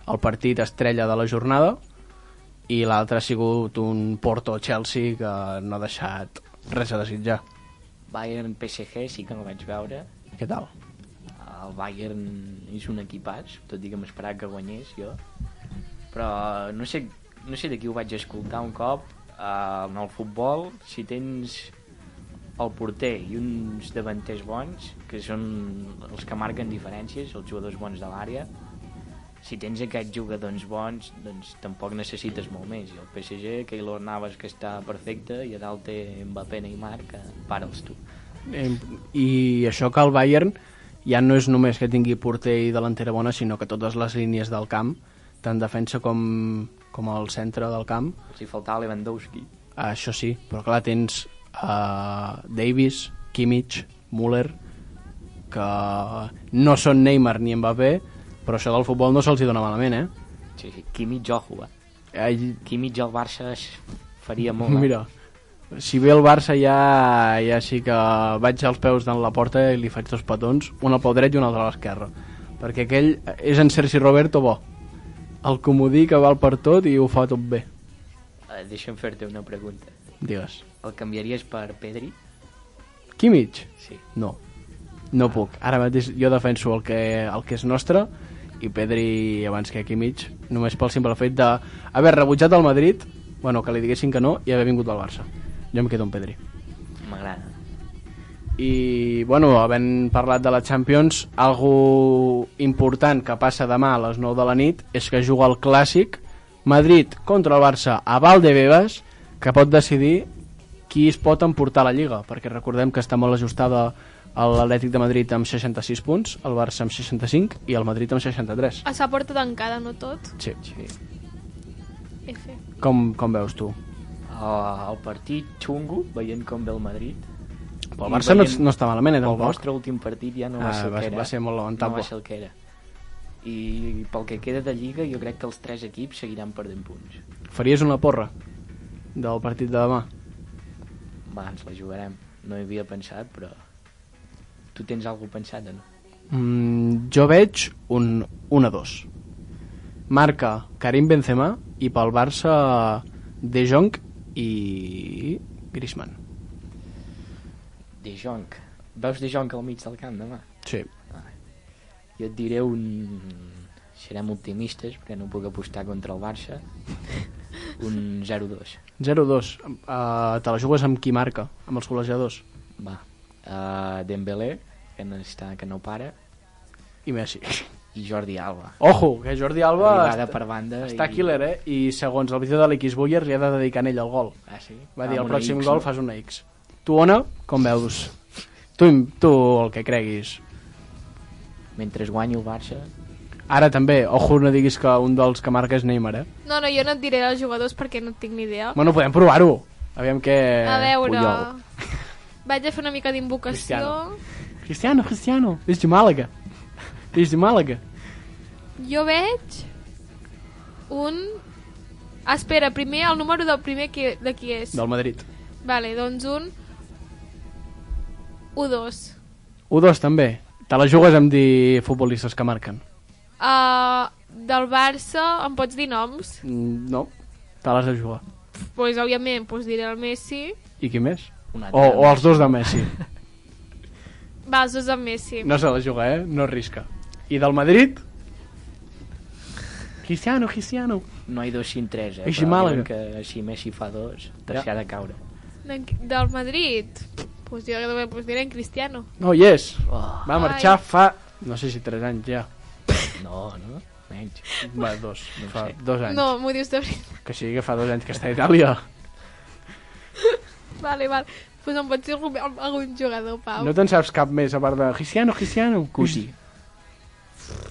Speaker 4: el partit estrella de la jornada, i l'altre ha sigut un Porto-Chelsea que no ha deixat res a desitjar.
Speaker 6: Bayern PSG sí que no vaig veure.
Speaker 4: Què tal?
Speaker 6: El Bayern és un equipàs, tot i que m'esperava que guanyés jo. Però no sé, no sé de qui ho vaig escoltar un cop. eh, En el futbol, si tens el porter i uns davanters bons, que són els que marquen diferències, els jugadors bons de l'àrea, si tens aquests jugadors bons, doncs tampoc necessites molt més. I el PSG, Keylor Navas, que està perfecte, i a dalt té Mbappé Neymar, que para'ls tu.
Speaker 4: Eh, I això que el Bayern ja no és només que tingui porter i delantera bona, sinó que totes les línies del camp, tant defensa com, com el centre del camp,
Speaker 6: Els hi faltava Lewandowski.
Speaker 4: això sí, però clar, tens uh, Davis, Kimmich, Müller, que no són Neymar ni Mbappé, però això del futbol no se'ls hi dona malament, eh?
Speaker 6: Sí, sí, Kimmich ojo, eh?
Speaker 4: Ai,
Speaker 6: Kimmich al Barça es faria molt. eh?
Speaker 4: mira, si ve el Barça ja, ja sí que vaig als peus de la porta i li faig dos petons, un al peu dret i un altre a l'esquerra. Perquè aquell és en Sergi Roberto bo. El comodí que val per tot i ho fa tot bé.
Speaker 6: Eh, deixa'm fer-te una pregunta.
Speaker 4: Digues.
Speaker 6: El canviaries per Pedri?
Speaker 4: Kimmich?
Speaker 6: Sí.
Speaker 4: No. No puc. Ara mateix jo defenso el que, el que és nostre i Pedri abans que Kimmich només pel simple fet de haver rebutjat el Madrid, bueno, que li diguessin que no i haver vingut al Barça. Jo em quedo amb Pedri.
Speaker 6: M'agrada.
Speaker 4: I, bueno, havent parlat de la Champions, algo important que passa demà a les 9 de la nit és que juga el Clàssic Madrid contra el Barça a Valdebebas, que pot decidir qui es pot emportar a la Lliga, perquè recordem que està molt ajustada a l'Atlètic de Madrid amb 66 punts, el Barça amb 65 i el Madrid amb 63.
Speaker 5: A sa porta tancada, no tot.
Speaker 4: Sí.
Speaker 5: F.
Speaker 4: Com, com veus tu?
Speaker 6: Uh, el partit xungo, veient com ve el Madrid.
Speaker 4: Pel
Speaker 6: I
Speaker 4: Barça no,
Speaker 6: veient-
Speaker 4: no està malament, eh,
Speaker 6: El
Speaker 4: tampoc.
Speaker 6: vostre últim partit ja no
Speaker 4: Ah,
Speaker 6: va ser el
Speaker 4: va-
Speaker 6: que era.
Speaker 4: va ser molt lamentable.
Speaker 6: No va ser el que era. I pel que queda de Lliga, jo crec que els tres equips seguiran perdent punts.
Speaker 4: Faries una porra del partit de demà?
Speaker 6: Va, ens la jugarem. No hi havia pensat, però... Tu tens alguna pensat o no?
Speaker 4: Mm, jo veig un 1-2. Marca Karim Benzema i pel Barça De Jong i Griezmann.
Speaker 6: De Jong. Veus De Jong al mig del camp demà?
Speaker 4: Sí.
Speaker 6: Jo et diré un... Serem optimistes, perquè no puc apostar contra el Barça. Un 0-2.
Speaker 4: 0-2. Uh, te la jugues amb qui marca? Amb els golejadors.
Speaker 6: Va. Uh, Dembélé, que no, està, que no para.
Speaker 4: I Messi.
Speaker 6: I Jordi Alba.
Speaker 4: Ojo, que Jordi Alba
Speaker 6: Arribada
Speaker 4: est-
Speaker 6: per banda.
Speaker 4: Oh, està
Speaker 6: i-
Speaker 4: killer, eh? I segons el vídeo de l'Xbuyer li ha de dedicar en ell el gol.
Speaker 6: Ah, sí?
Speaker 4: Va
Speaker 6: Amb
Speaker 4: dir, el
Speaker 6: una
Speaker 4: pròxim
Speaker 6: X,
Speaker 4: gol
Speaker 6: no?
Speaker 4: fas una X. Tu, Ona, com veus? Tu, tu el que creguis.
Speaker 6: Mentre guanyi el Barça,
Speaker 4: Ara també, ojo, no diguis que un dels que marca és Neymar, eh?
Speaker 5: No, no, jo no et diré els jugadors perquè no tinc ni idea.
Speaker 4: Bueno, podem provar-ho. Aviam què...
Speaker 5: a veure...
Speaker 4: Puyol.
Speaker 5: Vaig a fer una mica d'invocació.
Speaker 4: Cristiano. Cristiano, Cristiano, és de Màlaga. És de Màlaga.
Speaker 5: Jo veig un... Espera, primer el número del primer qui, de qui és.
Speaker 4: Del Madrid.
Speaker 5: Vale, doncs un... 1-2.
Speaker 4: 1-2 també. Te la jugues amb dir futbolistes que marquen.
Speaker 5: Uh, del Barça, em pots dir noms?
Speaker 4: Mm, No, te l'has de jugar.
Speaker 5: Doncs, pues, òbviament, pues, diré el Messi.
Speaker 4: I qui més? O,
Speaker 6: un altre.
Speaker 4: o els dos de Messi.
Speaker 5: Va, els dos amb Messi.
Speaker 4: No se la juga, eh? No risca. I del Madrid? Cristiano, Cristiano.
Speaker 6: No hi dos sin tres, eh?
Speaker 4: Així
Speaker 6: però
Speaker 4: Màlaga.
Speaker 6: diuen Que si Messi fa dos,
Speaker 4: Ja.
Speaker 6: tercer ha de caure.
Speaker 5: De, del Madrid? Pues jo també pues, diré en Cristiano.
Speaker 4: No hi és.
Speaker 6: Oh,
Speaker 4: Va marxar fa... No sé si 3 anys ja.
Speaker 6: no, no? Menys.
Speaker 4: Va, dos.
Speaker 6: No
Speaker 4: Fa
Speaker 6: sé.
Speaker 4: dos anys.
Speaker 5: No, m'ho dius de veritat.
Speaker 4: Que sí, que fa dos anys que està a Itàlia.
Speaker 5: Vale, vale. Pues em pots dir algun, algun jugador, Pau.
Speaker 4: No te'n saps cap més a part de Cristiano, Cristiano. Cusi.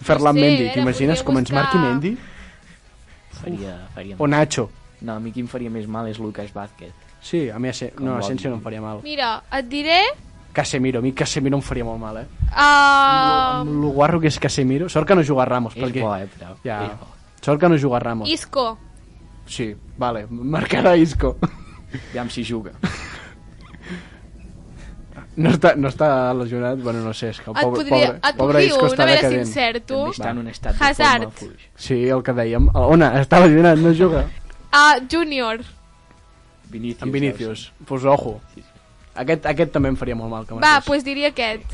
Speaker 4: Ferland sí,
Speaker 5: No sé,
Speaker 4: Mendy,
Speaker 5: ara
Speaker 4: t'imagines
Speaker 5: podria
Speaker 4: com ens
Speaker 5: buscar-
Speaker 4: marqui Mendy?
Speaker 6: Faria, faria
Speaker 4: O Nacho.
Speaker 6: No, a mi qui em faria més mal és Lucas Vázquez.
Speaker 4: Sí, a mi Asen...
Speaker 6: Com
Speaker 4: no,
Speaker 6: vol.
Speaker 4: Asensio no em faria mal.
Speaker 5: Mira, et diré... eh,
Speaker 4: Casemiro, a mi Casemiro em faria molt mal, eh?
Speaker 5: Uh,
Speaker 4: Amb lo guarro que és Casemiro. Sort que no juga Ramos,
Speaker 6: És
Speaker 4: perquè...
Speaker 6: bo, eh, però.
Speaker 4: Ja.
Speaker 6: És bo.
Speaker 4: Sort que no juga Ramos.
Speaker 5: Isco.
Speaker 4: Sí, vale, marcarà Isco.
Speaker 6: Aviam si juga.
Speaker 4: No està, no està lesionat, bueno, no sé, és que el
Speaker 5: Et
Speaker 4: pobre,
Speaker 5: podria...
Speaker 4: pobre,
Speaker 5: et
Speaker 4: pobre
Speaker 5: dic
Speaker 4: Isco
Speaker 5: un,
Speaker 4: està
Speaker 5: a veure si
Speaker 4: decadent.
Speaker 5: encert, tu.
Speaker 6: També està en un estat
Speaker 5: Hazard.
Speaker 6: de forma fluix.
Speaker 4: Sí, el que dèiem. El- Ona, està lesionat, no juga.
Speaker 5: Ah, Junior.
Speaker 6: Vinícius.
Speaker 4: En Vinícius, pues ojo.
Speaker 6: Sí, sí.
Speaker 4: Aquest, aquest també em faria molt mal. Que
Speaker 5: Va,
Speaker 4: marqués.
Speaker 5: doncs pues diria aquest.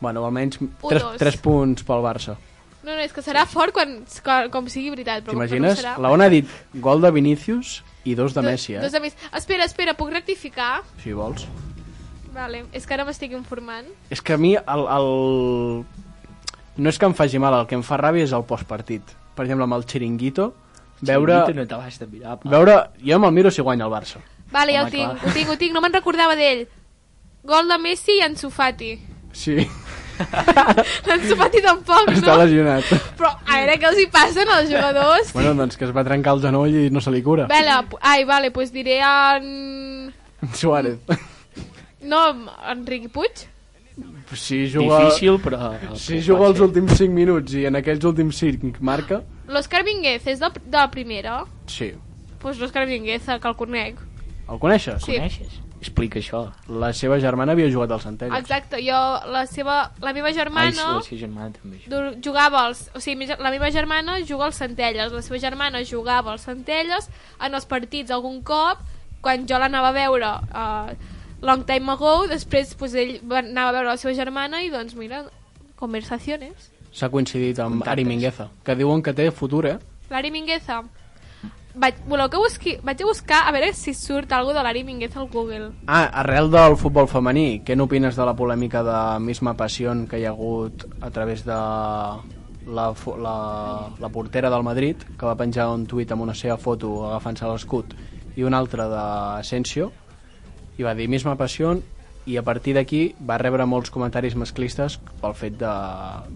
Speaker 4: Bueno, almenys
Speaker 5: Un,
Speaker 4: 3,
Speaker 5: dos.
Speaker 4: 3 punts pel Barça.
Speaker 5: No, no, és que serà fort quan, quan com sigui veritat, però com que no
Speaker 4: T'imagines?
Speaker 5: serà...
Speaker 4: La Ona ha dit gol de Vinícius i dos de
Speaker 5: Do-
Speaker 4: Messi, eh?
Speaker 5: Dos de Messi. Espera, espera, puc rectificar?
Speaker 4: Si vols.
Speaker 5: Vale, és que ara m'estic informant.
Speaker 4: És que a mi el, el... No és que em faci mal, el que em fa ràbia és el postpartit. Per exemple, amb el Chiringuito, veure...
Speaker 6: Chiringuito no te l'has de mirar, pa.
Speaker 4: Veure, jo me'l miro si guanya el Barça.
Speaker 5: Vale, ja
Speaker 6: Home,
Speaker 5: ho tinc,
Speaker 6: clar.
Speaker 5: ho tinc, ho tinc, no me'n recordava d'ell. Gol de Messi i Ansu Fati.
Speaker 4: Sí.
Speaker 5: L'ensopati tampoc, no?
Speaker 4: Està lesionat.
Speaker 5: Però a veure què els hi passen als jugadors.
Speaker 4: Bueno, doncs que es va trencar el genoll i no se li cura.
Speaker 5: Vela, pu- ai, vale, doncs diré en...
Speaker 4: Suárez.
Speaker 5: No, en Riqui Puig.
Speaker 4: Si juga...
Speaker 6: Difícil, però...
Speaker 4: Si
Speaker 6: però
Speaker 4: juga
Speaker 6: pot
Speaker 4: els
Speaker 6: ser.
Speaker 4: últims 5 minuts i en aquells últims 5 marca,
Speaker 5: L'Òscar Vinguez és de, de la primera.
Speaker 4: sí.
Speaker 5: Doncs pues l'Òscar Vinguez, que el conec.
Speaker 4: El coneixes?
Speaker 5: Sí.
Speaker 6: Coneixes? Explica això.
Speaker 4: La seva germana havia jugat al Centelles.
Speaker 5: Exacte, jo, la, seva, la meva
Speaker 6: Ai,
Speaker 5: germana...
Speaker 6: la seva germana també.
Speaker 5: dur- jugava als, o sigui, mi ge- la meva germana juga als Centelles, la seva germana jugava als Centelles en els partits algun cop, quan jo l'anava a veure uh, long time ago, després pues, ell va- anava a veure la seva germana i doncs mira, conversaciones.
Speaker 4: S'ha coincidit amb
Speaker 6: Contactes.
Speaker 4: Ari Mingueza, que diuen que té futur, eh?
Speaker 5: L'Ari Mingueza. Vaig, voleu que busqui, vaig a buscar a veure si surt alguna de l'Ari Mingueza al Google.
Speaker 4: Ah, arrel del futbol femení, què n'opines de la polèmica de Misma Passion que hi ha hagut a través de la, fo- la, la portera del Madrid, que va penjar un tuit amb una seva foto agafant-se l'escut, i un altre d'Asensio, i va dir Misma Passion, i a partir d'aquí va rebre molts comentaris masclistes pel fet de,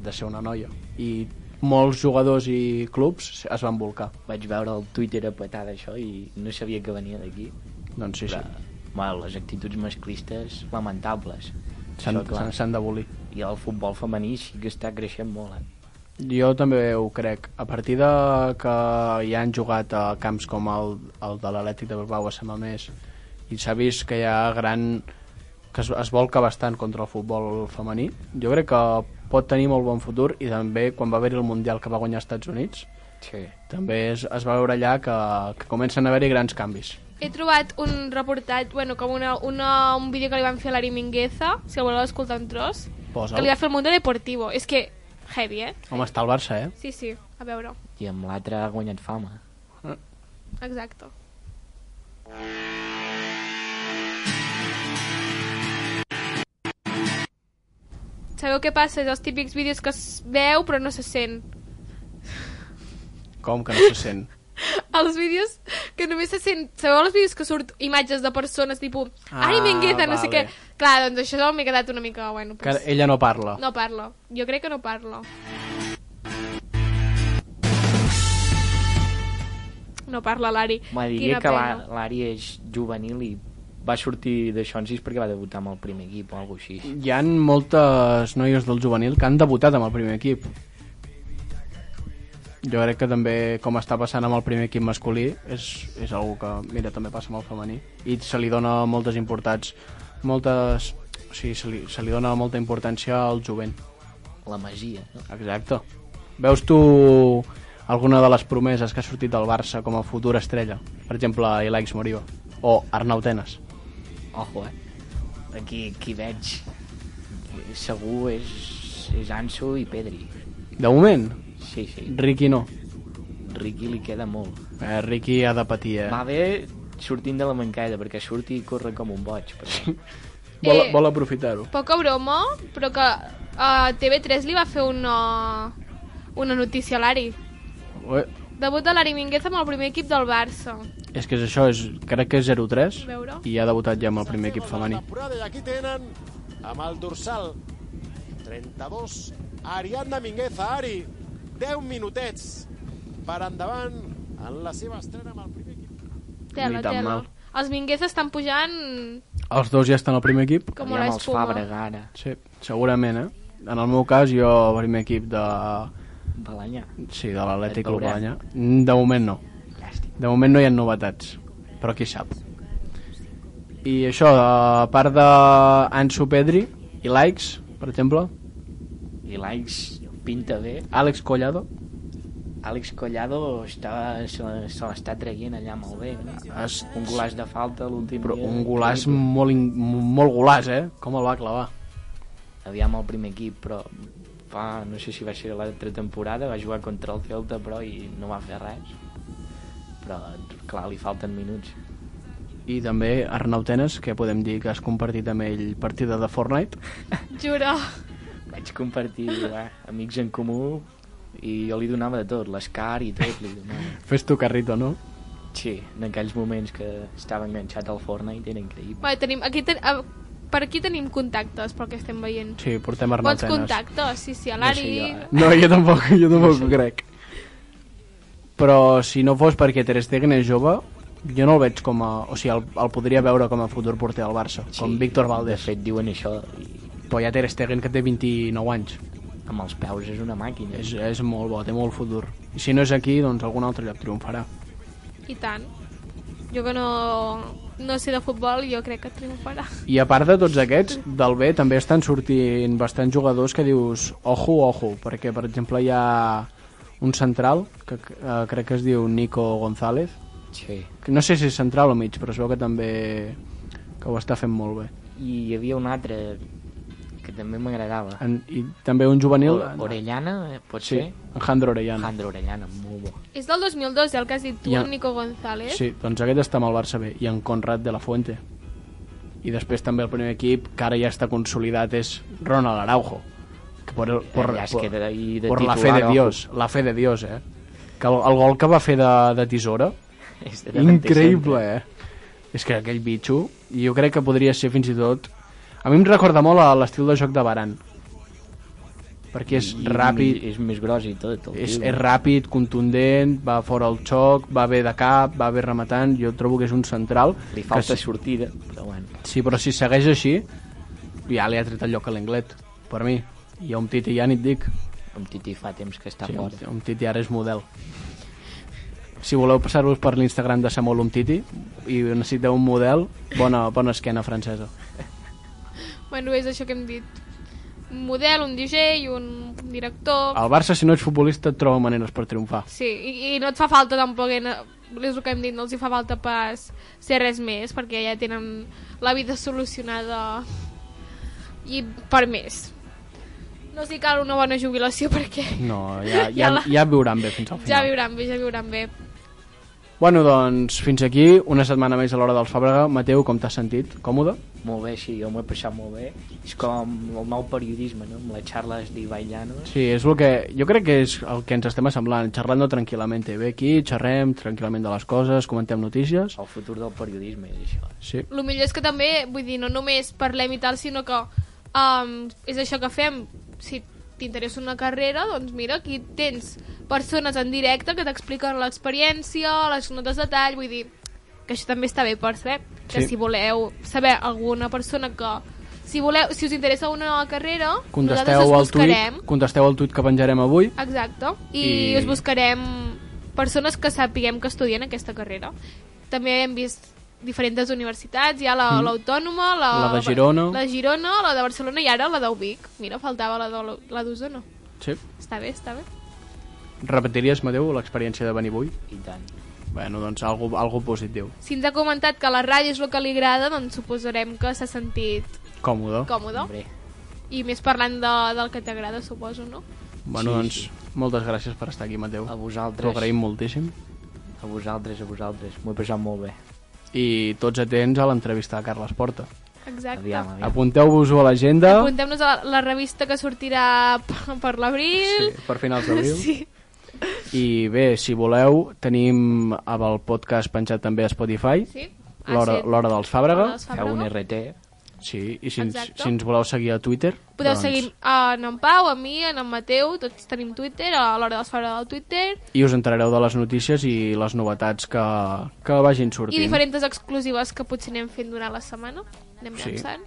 Speaker 4: de ser una noia. I molts jugadors i clubs es van volcar.
Speaker 6: Vaig veure el Twitter a petar d'això i no sabia que venia d'aquí.
Speaker 4: Doncs sí,
Speaker 6: Però,
Speaker 4: sí,
Speaker 6: bueno, les actituds masclistes, lamentables.
Speaker 4: s'han
Speaker 6: Això, clar.
Speaker 4: s'han- s'han d'abolir.
Speaker 6: I el futbol femení sí que està creixent molt, eh?
Speaker 4: Jo també ho crec. A partir de que ja han jugat a camps com el, el de l'Atlètic de Bilbao a Samamés i s'ha vist que hi ha gran... que es, es volca bastant contra el futbol femení, jo crec que pot tenir molt bon futur i també quan va haver-hi el Mundial que va guanyar als Estats Units
Speaker 6: Sí.
Speaker 4: també es, es va veure allà que, que comencen a haver-hi grans canvis.
Speaker 5: He trobat un reportatge, bueno, com una, una, un vídeo que li van fer a l'Ari Mingueza, si el voleu escoltar un tros,
Speaker 4: Posa'l.
Speaker 5: que li va fer el Mundo Deportivo. És que, heavy, eh?
Speaker 4: Home, està el Barça, eh?
Speaker 5: Sí, sí, a veure,
Speaker 6: I amb l'altre ha guanyat fama.
Speaker 5: exacte. Sabeu què passa? És els típics vídeos que es veu però no se sent.
Speaker 4: Com que no se sent?
Speaker 5: Els vídeos que només se sent... Sabeu els vídeos que surt imatges de persones tipus
Speaker 4: Ah,
Speaker 5: Ari Mingueza, no sé què...
Speaker 4: vale.
Speaker 5: Clar, doncs això m'he quedat una mica... Bueno,
Speaker 4: Que
Speaker 5: pues,
Speaker 4: ella no parla.
Speaker 5: No parla. Jo crec que no parla. No parla l'Ari.
Speaker 6: Home,
Speaker 5: Quina
Speaker 6: diria que
Speaker 5: pena.
Speaker 6: la- l'Ari és juvenil i va sortir de Xonsis perquè va debutar amb el primer equip o alguna així.
Speaker 4: Hi han moltes noies del juvenil que han debutat amb el primer equip. Jo crec que també, com està passant amb el primer equip masculí, és, és algo que, mira, també passa amb el femení. I se li dona moltes importats, moltes... O sigui, se li, se li dona molta importància al jovent.
Speaker 6: La magia, no?
Speaker 4: Exacte. Veus tu alguna de les promeses que ha sortit del Barça com a futura estrella? Per exemple, Ilaix Moriba o Arnau Tenes.
Speaker 6: Ojo, eh? Aquí, qui veig segur és, és Ansu i Pedri.
Speaker 4: De moment,
Speaker 6: Sí, sí.
Speaker 4: Ricky no.
Speaker 6: Ricky li queda molt.
Speaker 4: Eh, Ricky ha de patir, eh?
Speaker 6: Va bé sortint de la mancada, perquè surti i corre com un boig. Però...
Speaker 4: Vol,
Speaker 5: Eh.
Speaker 4: vol aprofitar-ho.
Speaker 5: Poca broma, però que eh, a TV3 li va fer una, una notícia a l'Ari.
Speaker 4: Ué,
Speaker 5: Debut de l'Ari Mingueza amb el primer equip del Barça.
Speaker 4: És que és això, és, crec que és 0-3
Speaker 5: A veure.
Speaker 4: i ha debutat ja amb el primer equip femení.
Speaker 8: temporada i aquí tenen amb el dorsal 32 Ariadna Mingueza Ari 10 minutets per endavant en la seva estrena amb el primer equip
Speaker 5: Tela,
Speaker 4: Ni tan
Speaker 5: tela.
Speaker 4: mal.
Speaker 5: Els Mingueza estan pujant
Speaker 4: Els dos ja estan al primer equip?
Speaker 5: com
Speaker 6: Aviam
Speaker 5: una
Speaker 6: els
Speaker 5: espuma.
Speaker 6: Fàbrega ara,
Speaker 4: Sí, segurament, eh? En el meu cas, jo el primer equip de...
Speaker 6: Balanyà.
Speaker 4: Sí, de l'Atlètic
Speaker 6: Et
Speaker 4: Club
Speaker 6: veurem.
Speaker 4: Balanyà. Mm, De moment no.
Speaker 6: Llàstima.
Speaker 4: De moment no hi ha novetats, però qui sap. I això, a part d'Anso Pedri i Likes, per exemple,
Speaker 6: I l'Aix pinta bé.
Speaker 4: Àlex Collado,
Speaker 6: Àlex Collado està, se, se l'està traient allà molt bé. eh?
Speaker 4: Es-
Speaker 6: Un golaç de falta l'últim
Speaker 4: però
Speaker 6: dia.
Speaker 4: un golaç
Speaker 6: Increïble.
Speaker 4: molt, in- molt golaç, eh? Com el va clavar.
Speaker 6: Aviam el primer equip, però fa, no sé si va ser l'altra temporada, va jugar contra el Celta, però i no va fer res. Però, clar, li falten minuts.
Speaker 4: I també Arnau Tenes, que podem dir que has compartit amb ell partida de Fortnite.
Speaker 5: Juro.
Speaker 6: Vaig compartir eh, amics en comú i jo li donava de tot, l'escar i tot li donava.
Speaker 4: Fes tu carrito, no?
Speaker 6: Sí, en aquells moments que estava enganxat al Fortnite era increïble.
Speaker 5: Vale, tenim, aquí ten, a, per aquí tenim contactes, pel que estem veient.
Speaker 4: Sí, portem Arnau
Speaker 5: Bons
Speaker 4: Tenes.
Speaker 5: contactes, sí, sí, a
Speaker 6: No sé
Speaker 5: l'Ari...
Speaker 6: jo, eh?
Speaker 4: No, jo tampoc, jo tampoc ho crec. Però si no fos perquè Ter Stegen és jove, jo no el veig com a... O sigui, el, el podria veure com a futur porter del Barça, sí, com Víctor
Speaker 6: De
Speaker 4: Valdés.
Speaker 6: fet, diuen això i
Speaker 4: Però hi ha Ter Stegen que té 29 anys.
Speaker 6: amb els peus és una màquina.
Speaker 4: És, és molt bo, té molt futur. I si no és aquí, doncs algun altre lloc triomfarà.
Speaker 6: eh.
Speaker 5: I tant. Jo que no, no sé de futbol, jo crec que triomfarà.
Speaker 4: I a part de tots aquests, del B també estan sortint bastants jugadors que dius ojo, ojo, perquè per exemple hi ha un central que eh, crec que es diu Nico González
Speaker 6: Sí.
Speaker 4: que no sé si és central o mig, però es veu que també que ho està fent molt bé
Speaker 6: I hi havia un altre que també m'agradava.
Speaker 4: en, i també un juvenil
Speaker 6: O- Orellana, eh, pot
Speaker 4: sí,
Speaker 6: ser?
Speaker 4: Alejandro Orellana
Speaker 6: Alejandro Orellana, molt bo.
Speaker 5: És del 2002, el que has dit tu,
Speaker 4: Ja.
Speaker 5: ja. Nico González.
Speaker 4: sí, doncs aquest està amb el Barça B i en Conrad de la Fuente i després també el primer equip que ara ja està consolidat és Ronald Araujo que por, por,
Speaker 6: Allà es
Speaker 4: por,
Speaker 6: queda ahí de
Speaker 4: por la fe
Speaker 6: titular,
Speaker 4: de
Speaker 6: ojo.
Speaker 4: Dios la fe de Dios, eh que el, el gol que va fer de, de tisora
Speaker 6: És de davanter
Speaker 4: Increïble,
Speaker 6: centre.
Speaker 4: eh? És que aquell bitxo, jo crec que podria ser fins i tot... A mi em recorda molt a l'estil de joc de Baran. Perquè és
Speaker 6: I
Speaker 4: ràpid,
Speaker 6: mi- És més gros i tot. el
Speaker 4: és,
Speaker 6: tio.
Speaker 4: és ràpid, contundent, va fora el xoc, va bé de cap, va bé rematant, jo trobo que és un central.
Speaker 6: Li falta
Speaker 4: que si,
Speaker 6: sortida, però bueno.
Speaker 4: sí, però si segueix així, ja li ha tret el lloc a l'Englet, per mi. I a un Titi ja ni et dic.
Speaker 6: Un Titi fa temps que està
Speaker 4: Sí,
Speaker 6: fort.
Speaker 4: un Titi ara és model. Si voleu passar-vos per l'Instagram de Samuel Umtiti i necessiteu un model, bona, bona esquena francesa.
Speaker 5: Bueno, és això que hem dit. Un model, un DJ, un director...
Speaker 4: Al Barça, si no ets futbolista, et troba maneres per triomfar.
Speaker 5: Sí, i, i no et fa falta tampoc... eh, no- És el que hem dit, no els hi fa falta pas ser res més, perquè ja tenen la vida solucionada i per més. No els hi cal una bona jubilació perquè
Speaker 4: No, ja,
Speaker 5: Ja
Speaker 4: ja,
Speaker 5: la-
Speaker 4: ja viuran bé fins al final.
Speaker 5: ja viuran bé, ja viuran bé.
Speaker 4: Bueno, doncs, fins aquí, una setmana més a l'hora dels Fàbrega. Mateu, com t'has sentit? Còmode?
Speaker 6: Molt bé, sí, jo m'ho he passat molt bé. És com el nou periodisme, no? Amb les xarles d'Ibai Llanos.
Speaker 4: Sí, és el que... Jo crec que és el que ens estem assemblant, xerrant tranquil·lament. Ve aquí, xerrem tranquil·lament de les coses, comentem notícies...
Speaker 6: El futur del periodisme és això.
Speaker 4: Sí,
Speaker 5: el millor és que també, vull dir, no només parlem i tal, sinó que um, és això que fem. Si t'interessa una carrera, doncs mira, aquí tens persones en directe que t'expliquen l'experiència, les notes de tall, vull dir, que això també està bé per saber, que
Speaker 4: Sí.
Speaker 5: si voleu saber alguna persona que... Si, voleu, si us interessa una carrera, nosaltres
Speaker 4: contesteu al
Speaker 5: us
Speaker 4: tuit,
Speaker 5: buscarem.
Speaker 4: contesteu al tuit que penjarem avui
Speaker 5: Exacte. I,
Speaker 4: I-
Speaker 5: I us buscarem persones que sapiguem que estudien aquesta carrera. També hem vist diferents universitats, hi ha la- l'Autònoma, la,
Speaker 4: Mm. La de Girona.
Speaker 5: la de Girona, la de Barcelona i ara la d'Ubic. Mira, faltava la de- la d'Osona.
Speaker 4: Sí.
Speaker 5: Està bé, està bé.
Speaker 4: Repetiries, Mateu, l'experiència de venir avui?
Speaker 6: I tant.
Speaker 4: Bueno, doncs, algo, algo positiu.
Speaker 5: Si ens ha comentat que la ràdio és el que li agrada, doncs suposarem que s'ha sentit
Speaker 4: Còmode.
Speaker 5: còmode.
Speaker 6: Hombre,
Speaker 5: I més parlant de, del que t'agrada, suposo, no?
Speaker 4: Bueno,
Speaker 6: Sí,
Speaker 4: doncs, moltes gràcies per estar aquí, Mateu.
Speaker 6: a
Speaker 4: T'ho
Speaker 6: vosaltres,
Speaker 4: agraïm moltíssim.
Speaker 6: a vosaltres, a vosaltres. M'ho he passat molt bé.
Speaker 4: I tots atents a l'entrevista de Carles Porta.
Speaker 5: Exacte.
Speaker 6: Aviam, aviam.
Speaker 4: Apunteu-vos-ho a l'agenda
Speaker 5: Apuntem-nos a la, la revista que sortirà per, per
Speaker 4: sí,
Speaker 5: l'abril.
Speaker 4: per finals d'abril.
Speaker 5: sí.
Speaker 4: I bé, si voleu, tenim amb el podcast penjat també a Spotify,
Speaker 5: Sí. Ha
Speaker 4: l'hora
Speaker 5: set.
Speaker 4: l'hora dels Fàbrega.
Speaker 5: Hora dels
Speaker 6: Feu un RT.
Speaker 4: Sí, i si ens,
Speaker 5: Exacte.
Speaker 4: si ens voleu seguir a Twitter,
Speaker 5: Podeu
Speaker 4: doncs,
Speaker 5: seguir en en Pau, a mi, en en Mateu, tots tenim Twitter, a l'hora de les fora del Twitter,
Speaker 4: i us entrareu de les notícies i les novetats que, que vagin
Speaker 5: i
Speaker 4: sortint.
Speaker 5: diferents exclusives que potser anem fent durant la setmana, anem
Speaker 4: Sí.
Speaker 5: sí. llançant.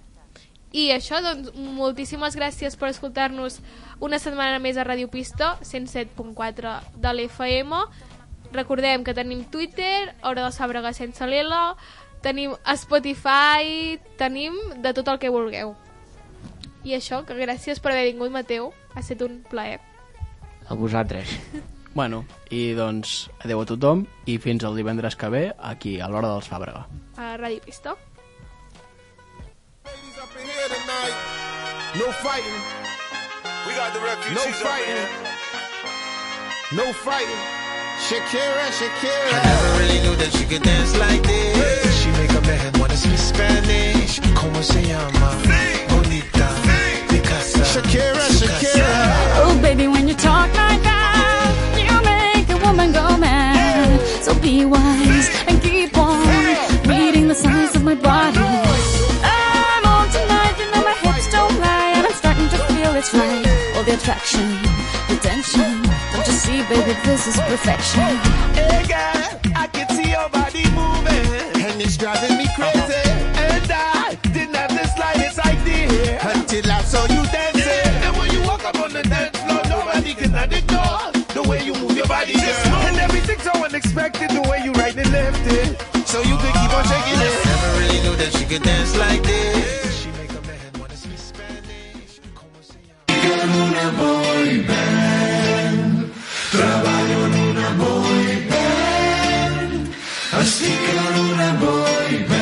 Speaker 5: I això, doncs, moltíssimes gràcies per escoltar-nos una setmana més a Radio Pista, 107.4 de l'FM. Recordem que tenim Twitter, Hora de Sàbrega sense l'L, tenim Spotify, tenim de tot el que vulgueu. I això, que gràcies per haver vingut, Mateu. Ha estat un plaer.
Speaker 6: A vosaltres.
Speaker 4: Bueno, i doncs, adeu a tothom i fins el divendres que ve aquí, a l'hora dels Fàbrega.
Speaker 5: a Radio Pista.
Speaker 8: Ladies up in here tonight. No fighting.
Speaker 9: We got the refugees.
Speaker 8: No
Speaker 9: over
Speaker 8: fighting.
Speaker 9: here.
Speaker 8: No fighting. Shakira, Shakira.
Speaker 9: I never really knew that she could dance like this. She make a man wanna speak Spanish. Como se llama? Bonita. De casa.
Speaker 8: Shakira,
Speaker 9: Su casa.
Speaker 8: Shakira.
Speaker 10: Oh, baby, when you talk like that, you make a woman go mad. So be wise and keep on reading the signs of my body. I'm on tonight. attention, attention. Don't you see, baby, this is perfection.
Speaker 4: Hey girl, I can see your body moving, and it's driving me crazy. And I didn't have the slightest idea until I saw you dancing. And when you walk up on the dance floor, nobody cannot ignore the way you move your body, girl. And everything's so unexpected, the way you right and left it, so you could keep on shaking it. Never really knew that she could dance like this.
Speaker 11: en una boy band. Trabajo en una boy band. Así que en una boy band.
Speaker 3: Uh!